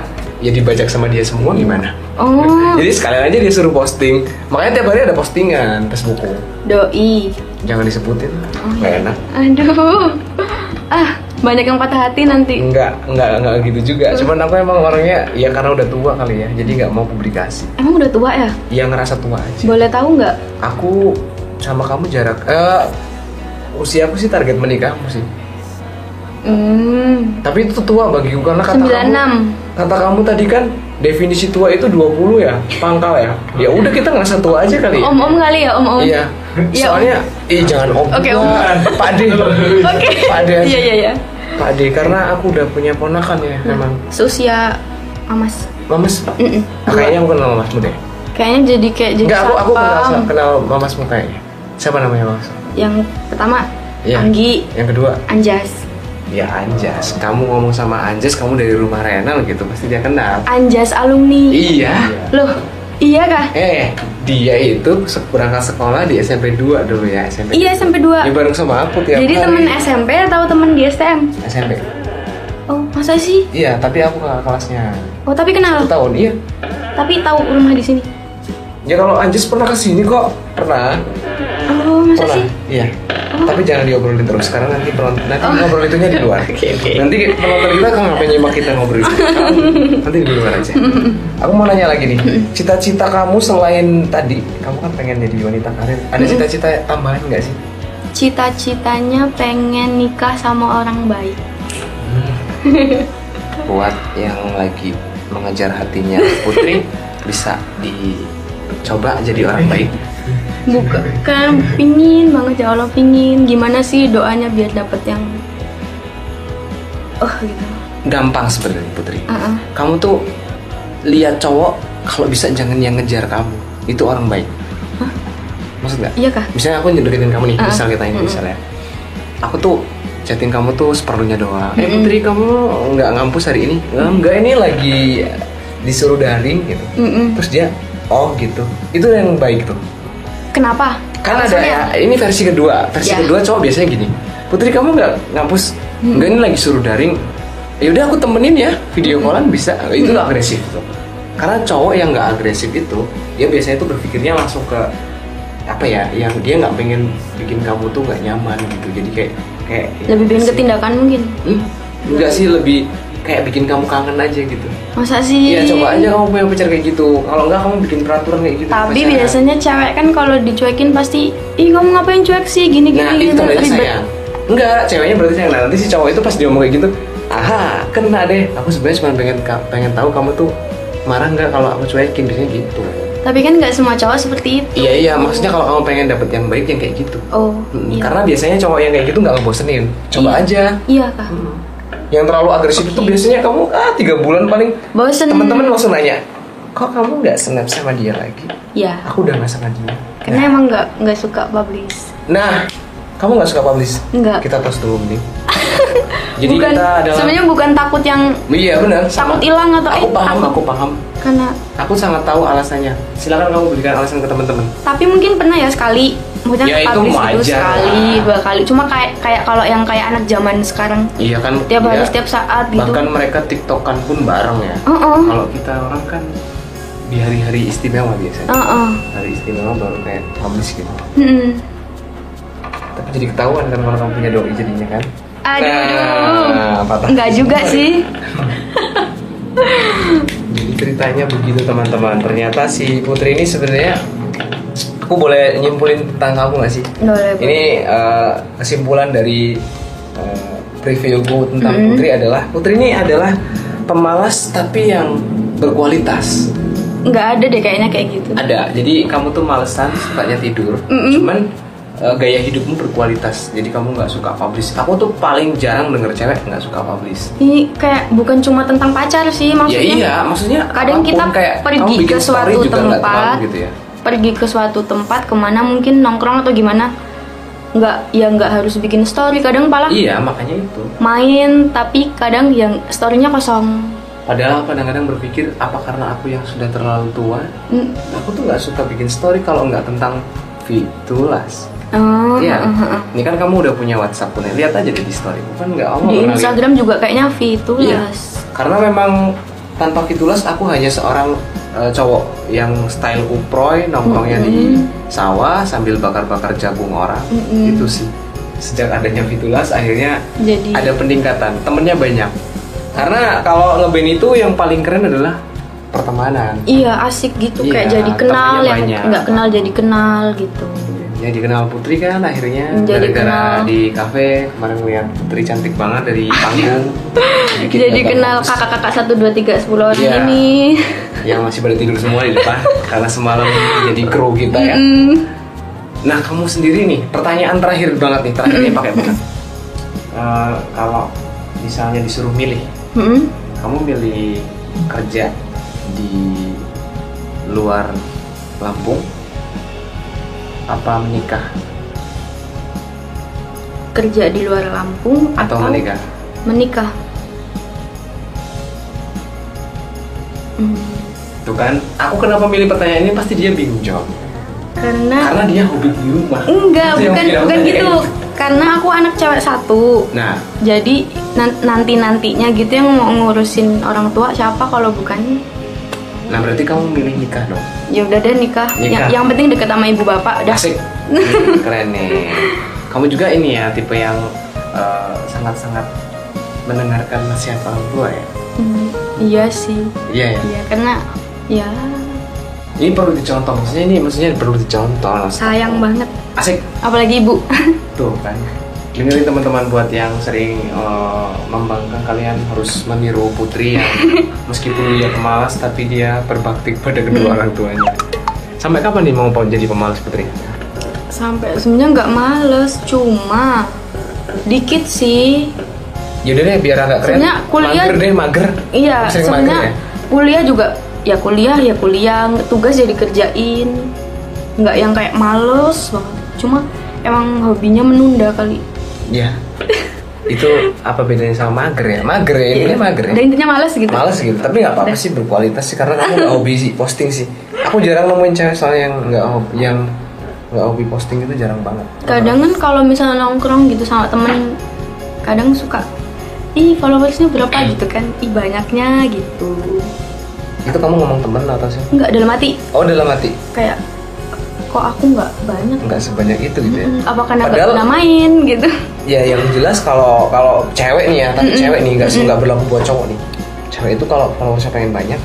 Speaker 1: ya dibajak sama dia semua gimana?
Speaker 2: Oh.
Speaker 1: Jadi sekalian aja dia suruh posting. Makanya tiap hari ada postingan Facebookku.
Speaker 2: Doi.
Speaker 1: Jangan disebutin, nggak enak.
Speaker 2: Aduh. Ah banyak yang patah hati nanti.
Speaker 1: Enggak, enggak, enggak gitu juga. Cuman aku emang orangnya ya karena udah tua kali ya, jadi nggak mau publikasi.
Speaker 2: Emang udah tua ya?
Speaker 1: Ya ngerasa tua aja.
Speaker 2: Boleh tahu nggak?
Speaker 1: Aku sama kamu jarak. Eh, usia aku sih target menikahmu sih.
Speaker 2: Hmm.
Speaker 1: Tapi itu tua bagi gue karena kata kamu
Speaker 2: 96.
Speaker 1: kata kamu tadi kan definisi tua itu 20 ya, pangkal ya. Ya udah kita ngerasa tua aja kali. ya.
Speaker 2: Om-om kali ya om-om.
Speaker 1: Iya.
Speaker 2: Iya,
Speaker 1: Soalnya ih jangan om.
Speaker 2: Oke,
Speaker 1: Wah,
Speaker 2: om.
Speaker 1: Pak De.
Speaker 2: Oke.
Speaker 1: Pak De.
Speaker 2: Iya iya iya.
Speaker 1: Pak De karena aku udah punya ponakan ya memang.
Speaker 2: Seusia Amas.
Speaker 1: Mamas.
Speaker 2: Mm-mm.
Speaker 1: Ah, kayaknya aku kenal mamasmu deh.
Speaker 2: Kayaknya jadi kayak jadi
Speaker 1: Enggak, aku aku kenal
Speaker 2: satpam.
Speaker 1: kenal mamasmu kayaknya. Siapa namanya mamas?
Speaker 2: Yang pertama
Speaker 1: Iya.
Speaker 2: Anggi
Speaker 1: Yang kedua,
Speaker 2: Anjas.
Speaker 1: ya Anjas. Kamu ngomong sama Anjas, kamu dari rumah Renal gitu, pasti dia kenal.
Speaker 2: Anjas alumni.
Speaker 1: Iya.
Speaker 2: Loh, iya kah?
Speaker 1: Eh, dia itu se- berangkat sekolah di SMP 2 dulu ya, SMP.
Speaker 2: Iya, SMP 2.
Speaker 1: Dia bareng sama aku tiap
Speaker 2: Jadi
Speaker 1: hari.
Speaker 2: temen SMP atau temen di STM?
Speaker 1: SMP.
Speaker 2: Oh, masa sih?
Speaker 1: Iya, tapi aku kakak kelasnya.
Speaker 2: Oh, tapi kenal.
Speaker 1: Satu tahun, iya.
Speaker 2: Tapi tahu rumah di sini.
Speaker 1: Ya kalau Anjis pernah kesini kok. Pernah.
Speaker 2: Oh, masa
Speaker 1: pernah.
Speaker 2: sih? Oh.
Speaker 1: Iya. Tapi jangan diobrolin terus karena nanti penonton nanti ngobrol itunya di luar.
Speaker 2: Oke, oke.
Speaker 1: Nanti penonton kita kan ngapain nyimak kita ngobrol itu. nanti di luar aja. Aku mau nanya lagi nih. Cita-cita kamu selain tadi, kamu kan pengen jadi wanita karir. Ada cita-cita tambahan nggak sih?
Speaker 2: cita-citanya pengen nikah sama orang baik.
Speaker 1: buat yang lagi mengejar hatinya Putri bisa dicoba jadi orang baik
Speaker 2: Bukan kan pingin banget ya Allah pingin. Gimana sih doanya biar dapet yang oh gitu.
Speaker 1: gampang sebenarnya Putri
Speaker 2: Uh-uh.
Speaker 1: kamu tuh lihat cowok kalau bisa jangan yang ngejar kamu itu orang baik maksud nggak
Speaker 2: Iya kah?
Speaker 1: misalnya aku nyedeketin kamu nih
Speaker 2: Ah.
Speaker 1: misal kita ini misalnya aku tuh chatting kamu tuh seperlunya doang eh
Speaker 2: Mm-mm.
Speaker 1: putri kamu nggak ngampus hari ini "Eh, nggak ini lagi disuruh daring gitu
Speaker 2: Mm-mm.
Speaker 1: terus dia oh gitu itu yang baik tuh
Speaker 2: Kenapa?
Speaker 1: kan ada
Speaker 2: Maksudnya,
Speaker 1: ini versi kedua versi
Speaker 2: Ya.
Speaker 1: kedua cowok biasanya gini putri kamu nggak ngampus
Speaker 2: Hmm.
Speaker 1: nggak ini lagi suruh daring ya udah aku temenin ya
Speaker 2: Hmm.
Speaker 1: video callan bisa itu agresif tuh karena cowok yang nggak agresif itu dia biasanya tuh berpikirnya langsung ke apa ya yang dia nggak pengen bikin kamu tuh nggak nyaman gitu jadi kayak kayak
Speaker 2: lebih pengen ke tindakan mungkin.
Speaker 1: hmm? enggak sih lebih kayak bikin kamu kangen aja gitu
Speaker 2: Masa sih?
Speaker 1: Iya coba aja kamu punya pacar kayak gitu Kalau enggak kamu bikin peraturan kayak gitu
Speaker 2: Tapi
Speaker 1: pacaran.
Speaker 2: biasanya cewek kan kalau dicuekin pasti, ih kamu ngapain cuek sih gini gini
Speaker 1: Nah itu
Speaker 2: gitu,
Speaker 1: berarti sayang Enggak, ceweknya berarti sayang Nah nanti si cowok itu pas dia ngomong kayak gitu Aha, kena deh Aku sebenarnya cuma pengen ka- pengen tahu kamu tuh marah nggak kalau aku cuekin biasanya gitu
Speaker 2: Tapi kan nggak semua cowok seperti itu.
Speaker 1: iya iya maksudnya kalau kamu pengen dapet yang baik yang kayak gitu
Speaker 2: Oh,
Speaker 1: Mm,
Speaker 2: iya.
Speaker 1: karena biasanya cowok yang kayak gitu nggak ngebosenin coba
Speaker 2: Iya.
Speaker 1: aja
Speaker 2: Iya kah?
Speaker 1: yang terlalu agresif itu biasanya kamu ah tiga bulan paling
Speaker 2: Bosen.
Speaker 1: teman-teman langsung nanya kok kamu nggak snap sama dia lagi
Speaker 2: Iya.
Speaker 1: aku udah nggak sama dia
Speaker 2: Karena emang nggak nggak suka publish.
Speaker 1: nah kamu nggak suka publish
Speaker 2: Nggak.
Speaker 1: kita tos dulu nih jadi
Speaker 2: bukan,
Speaker 1: kita adalah
Speaker 2: Sebenarnya bukan takut yang
Speaker 1: Iya benar. sama.
Speaker 2: Takut hilang atau-
Speaker 1: aku
Speaker 2: eh,
Speaker 1: paham,
Speaker 2: takut.
Speaker 1: aku paham.
Speaker 2: karena
Speaker 1: Aku sangat tahu alasannya. Silakan kamu berikan alasan ke teman-teman.
Speaker 2: tapi mungkin pernah ya sekali maksudnya
Speaker 1: Ya, itu
Speaker 2: publish itu
Speaker 1: wajar
Speaker 2: sekali
Speaker 1: lah.
Speaker 2: dua kali cuma kayak kayak kalau yang kayak anak zaman sekarang
Speaker 1: Iya kan.
Speaker 2: tiap hari
Speaker 1: iya.
Speaker 2: setiap saat gitu
Speaker 1: Bahkan mereka tiktokan pun bareng ya.
Speaker 2: Oh, oh.
Speaker 1: Kalau kita orang kan di hari-hari istimewa biasanya.
Speaker 2: Heeh.
Speaker 1: Hari istimewa baru kayak publish gitu.
Speaker 2: Mm-mm.
Speaker 1: Tapi jadi ketahuan kan kalau kamu punya doi jadinya kan.
Speaker 2: aduh
Speaker 1: Nah, patah.
Speaker 2: nggak juga sih
Speaker 1: Jadi ceritanya begitu teman-teman. Ternyata si Putri ini sebenarnya aku boleh nyimpulin tentang kamu nggak sih?
Speaker 2: Boleh, Bu.
Speaker 1: Ini eh, kesimpulan dari eh, reviewku tentang
Speaker 2: Mm-mm.
Speaker 1: Putri adalah Putri ini adalah pemalas tapi yang berkualitas.
Speaker 2: nggak ada deh kayaknya kayak gitu
Speaker 1: Ada. Jadi kamu tuh malesan sukanya tidur.
Speaker 2: Mm-mm.
Speaker 1: Cuman eh, gaya hidupmu berkualitas. Jadi kamu nggak suka publish. Aku tuh paling jarang denger cewek nggak suka publish.
Speaker 2: ini kayak bukan cuma tentang pacar sih maksudnya
Speaker 1: ya iya, maksudnya
Speaker 2: kadang
Speaker 1: apapun
Speaker 2: kita
Speaker 1: kayak kamu
Speaker 2: pergi
Speaker 1: bikin
Speaker 2: ke
Speaker 1: story
Speaker 2: suatu
Speaker 1: juga nggak
Speaker 2: tempat
Speaker 1: terlalu gitu ya.
Speaker 2: pergi ke suatu tempat kemana mungkin nongkrong atau gimana nggak ya nggak harus bikin story kadang malah
Speaker 1: Iya, makanya itu.
Speaker 2: main tapi kadang yang storynya kosong
Speaker 1: Padahal kadang-kadang berpikir apa karena aku yang sudah terlalu tua?
Speaker 2: Mm,
Speaker 1: Aku tuh nggak suka bikin story kalau nggak tentang fitulas.
Speaker 2: oh,
Speaker 1: Iya.
Speaker 2: heeh, heeh.
Speaker 1: Ini kan kamu udah punya WhatsApp punya. Lihat aja deh di story. Aku Kan nggak
Speaker 2: di
Speaker 1: omong pernah lihat.
Speaker 2: Instagram juga kayaknya ya, fitulas
Speaker 1: Iya. Karena memang tanpa fitulas aku hanya seorang eh, cowok yang style uproy nongkrongnya di sawah sambil bakar-bakar jagung orang.
Speaker 2: Mm-mm.
Speaker 1: Itu sih. Sejak adanya fitulas akhirnya
Speaker 2: jadi
Speaker 1: ada peningkatan temennya banyak karena kalau ngeband itu yang paling keren adalah pertemanan
Speaker 2: iya asik gitu
Speaker 1: Iya,
Speaker 2: kayak jadi kenal
Speaker 1: temennya
Speaker 2: yang
Speaker 1: banyak.
Speaker 2: nggak kenal jadi kenal gitu
Speaker 1: yang dikenal Putri kan akhirnya
Speaker 2: Jadi
Speaker 1: gara-gara
Speaker 2: kenal.
Speaker 1: di kafe kemarin ngeliat Putri cantik banget dari panggung Bikin
Speaker 2: jadi
Speaker 1: gambar
Speaker 2: kenal
Speaker 1: bagus.
Speaker 2: kakak-kakak satu dua tiga sepuluh orang
Speaker 1: Iya.
Speaker 2: ini
Speaker 1: yang masih pada tidur semua di depan karena semalam jadi kru kita ya nah kamu sendiri nih pertanyaan terakhir banget nih terakhirnya pakai banget Eh, kalau misalnya disuruh milih
Speaker 2: Mm-mm.
Speaker 1: kamu milih kerja di luar Lampung apa menikah
Speaker 2: kerja di luar Lampung
Speaker 1: atau menikah
Speaker 2: menikah Hmm,
Speaker 1: tuh kan aku kenapa milih pertanyaan ini pasti dia bingung jawab
Speaker 2: karena
Speaker 1: karena dia hobi di rumah
Speaker 2: enggak
Speaker 1: Itu yang
Speaker 2: bukan
Speaker 1: bilang
Speaker 2: bukan
Speaker 1: tadi,
Speaker 2: gitu
Speaker 1: eh.
Speaker 2: karena aku anak cewek satu
Speaker 1: nah
Speaker 2: jadi nanti nantinya gitu yang mau ngurusin orang tua siapa kalau bukan
Speaker 1: nah berarti kamu milih nikah dong
Speaker 2: ya udah deh nikah,
Speaker 1: Nikah.
Speaker 2: Yang, yang penting deket sama ibu bapak udah
Speaker 1: Asik. Hmm, keren nih kamu juga ini ya tipe yang eh, sangat-sangat mendengarkan nasihat orang tua ya
Speaker 2: Hmm, iya sih
Speaker 1: iya ya
Speaker 2: iya karena ya
Speaker 4: ini perlu dicontoh maksudnya ini maksudnya perlu dicontoh
Speaker 2: sayang banget
Speaker 4: asik
Speaker 2: apalagi ibu
Speaker 4: tuh kan dengerin teman-teman buat yang sering eh, membangkang kalian harus meniru
Speaker 1: ya.
Speaker 4: putri yang meskipun dia pemalas tapi dia berbakti pada
Speaker 2: Hmm.
Speaker 4: kedua orang tuanya sampai kapan nih mau pon- jadi pemalas putri
Speaker 2: sampai sebenarnya nggak males cuma dikit sih
Speaker 1: Ya
Speaker 4: yaudah deh biar agak keren
Speaker 2: Sebenarnya kuliah-
Speaker 4: mager deh mager
Speaker 2: iya
Speaker 4: Sering mager
Speaker 2: sebenarnya
Speaker 4: ya?
Speaker 2: kuliah juga ya kuliah ya kuliah tugas ya dikerjain nggak yang kayak males banget cuma emang hobinya menunda kali
Speaker 1: ya itu apa bedanya sama mager ya mager ya ini mager ya
Speaker 2: Iya. dan intinya males gitu
Speaker 1: males gitu tapi nggak apa-apa sih berkualitas sih karena kamu nggak hobi sih posting sih aku jarang nemuin cewek soalnya yang nggak hobi yang nggak hobi posting itu jarang banget
Speaker 2: kadang kan kalau misalnya nongkrong gitu sama temen kadang suka ih followersnya
Speaker 1: Hmm.
Speaker 2: berapa gitu kan ih banyaknya gitu
Speaker 1: itu kamu ngomong temen atau sih
Speaker 2: nggak dalam hati
Speaker 1: oh dalam hati
Speaker 2: kayak kok aku nggak banyak
Speaker 1: nggak sebanyak itu gitu ya
Speaker 2: Hmm, apa karena nggak
Speaker 1: Padahal-
Speaker 2: pernah main gitu
Speaker 1: ya yang jelas kalau kalau cewek nih ya tapi cewek nih nggak nggak berlaku buat cowok nih cewek itu kalau followersnya pengen banyak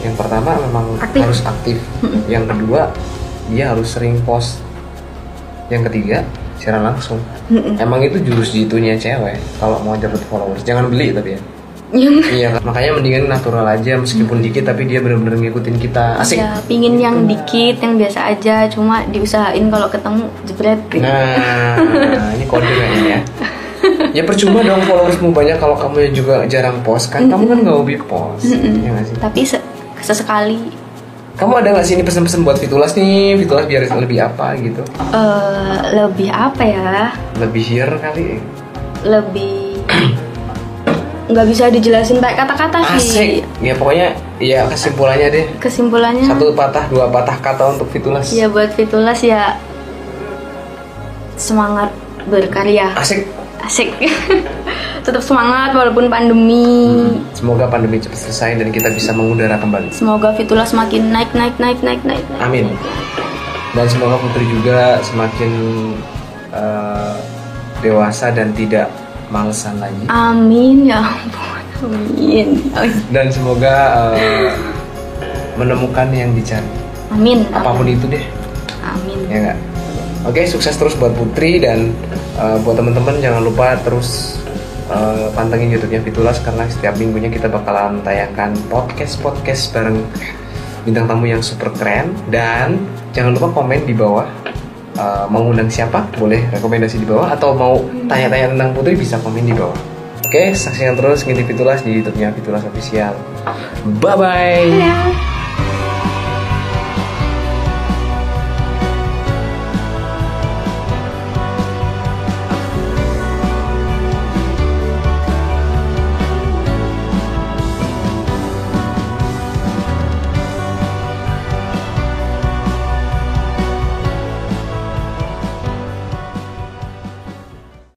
Speaker 1: yang pertama memang
Speaker 2: Aktif.
Speaker 1: harus aktif yang kedua dia harus sering post yang ketiga siaran langsung emang itu jurus jitunya cewek kalau mau dapat followers jangan beli tapi ya
Speaker 2: yang
Speaker 1: iya makanya mendingan natural aja meskipun dikit tapi dia benar-benar ngikutin kita asik
Speaker 2: ya pingin yang dikit yang biasa aja cuma diusahain kalau ketemu jebret gitu.
Speaker 1: Nah, ini kode kayaknya ya. Ya percuma dong followersmu banyak kalau kamu juga jarang post kan. Kamu kan nggak hobi post, ya nggak sih?
Speaker 2: tapi se- sesekali
Speaker 1: Kamu ada nggak sih ini pesan-pesan buat Fitulas nih? Fitulas biar lebih apa gitu?
Speaker 2: eh, lebih apa ya
Speaker 1: Lebih here kali.
Speaker 2: lebih nggak bisa dijelasin pakai kata-kata
Speaker 1: Asik.
Speaker 2: sih
Speaker 1: Ya pokoknya ya kesimpulannya deh.
Speaker 2: kesimpulannya
Speaker 1: Satu patah, dua patah kata untuk Fitulas.
Speaker 2: ya buat Fitulas ya semangat berkarya
Speaker 1: Asik.
Speaker 2: asik tetap semangat walaupun pandemi
Speaker 1: Semoga pandemi cepat selesai dan kita bisa mengudara kembali.
Speaker 2: semoga Fitulas makin naik naik naik naik naik naik.
Speaker 1: Amin. Dan semoga Putri juga semakin eh, dewasa dan tidak malesan lagi.
Speaker 2: amin ya ampun amin
Speaker 1: Dan semoga eh, menemukan yang dicari.
Speaker 2: amin
Speaker 1: Apapun itu deh,
Speaker 2: amin
Speaker 1: ya nggak? Oke, sukses terus buat Putri dan eh, buat teman-teman jangan lupa terus eh, pantengin YouTube-nya Fitulas karena setiap minggunya kita bakalan tayangkan podcast-podcast bareng bintang tamu yang super keren dan jangan lupa komen di bawah eh, mau undang siapa boleh rekomendasi di bawah atau mau tanya-tanya tentang Putri bisa komen di bawah. Oke, saksikan terus ngintip Fitulas di YouTube-nya Fitulas Official. Bye bye.
Speaker 2: Dadah.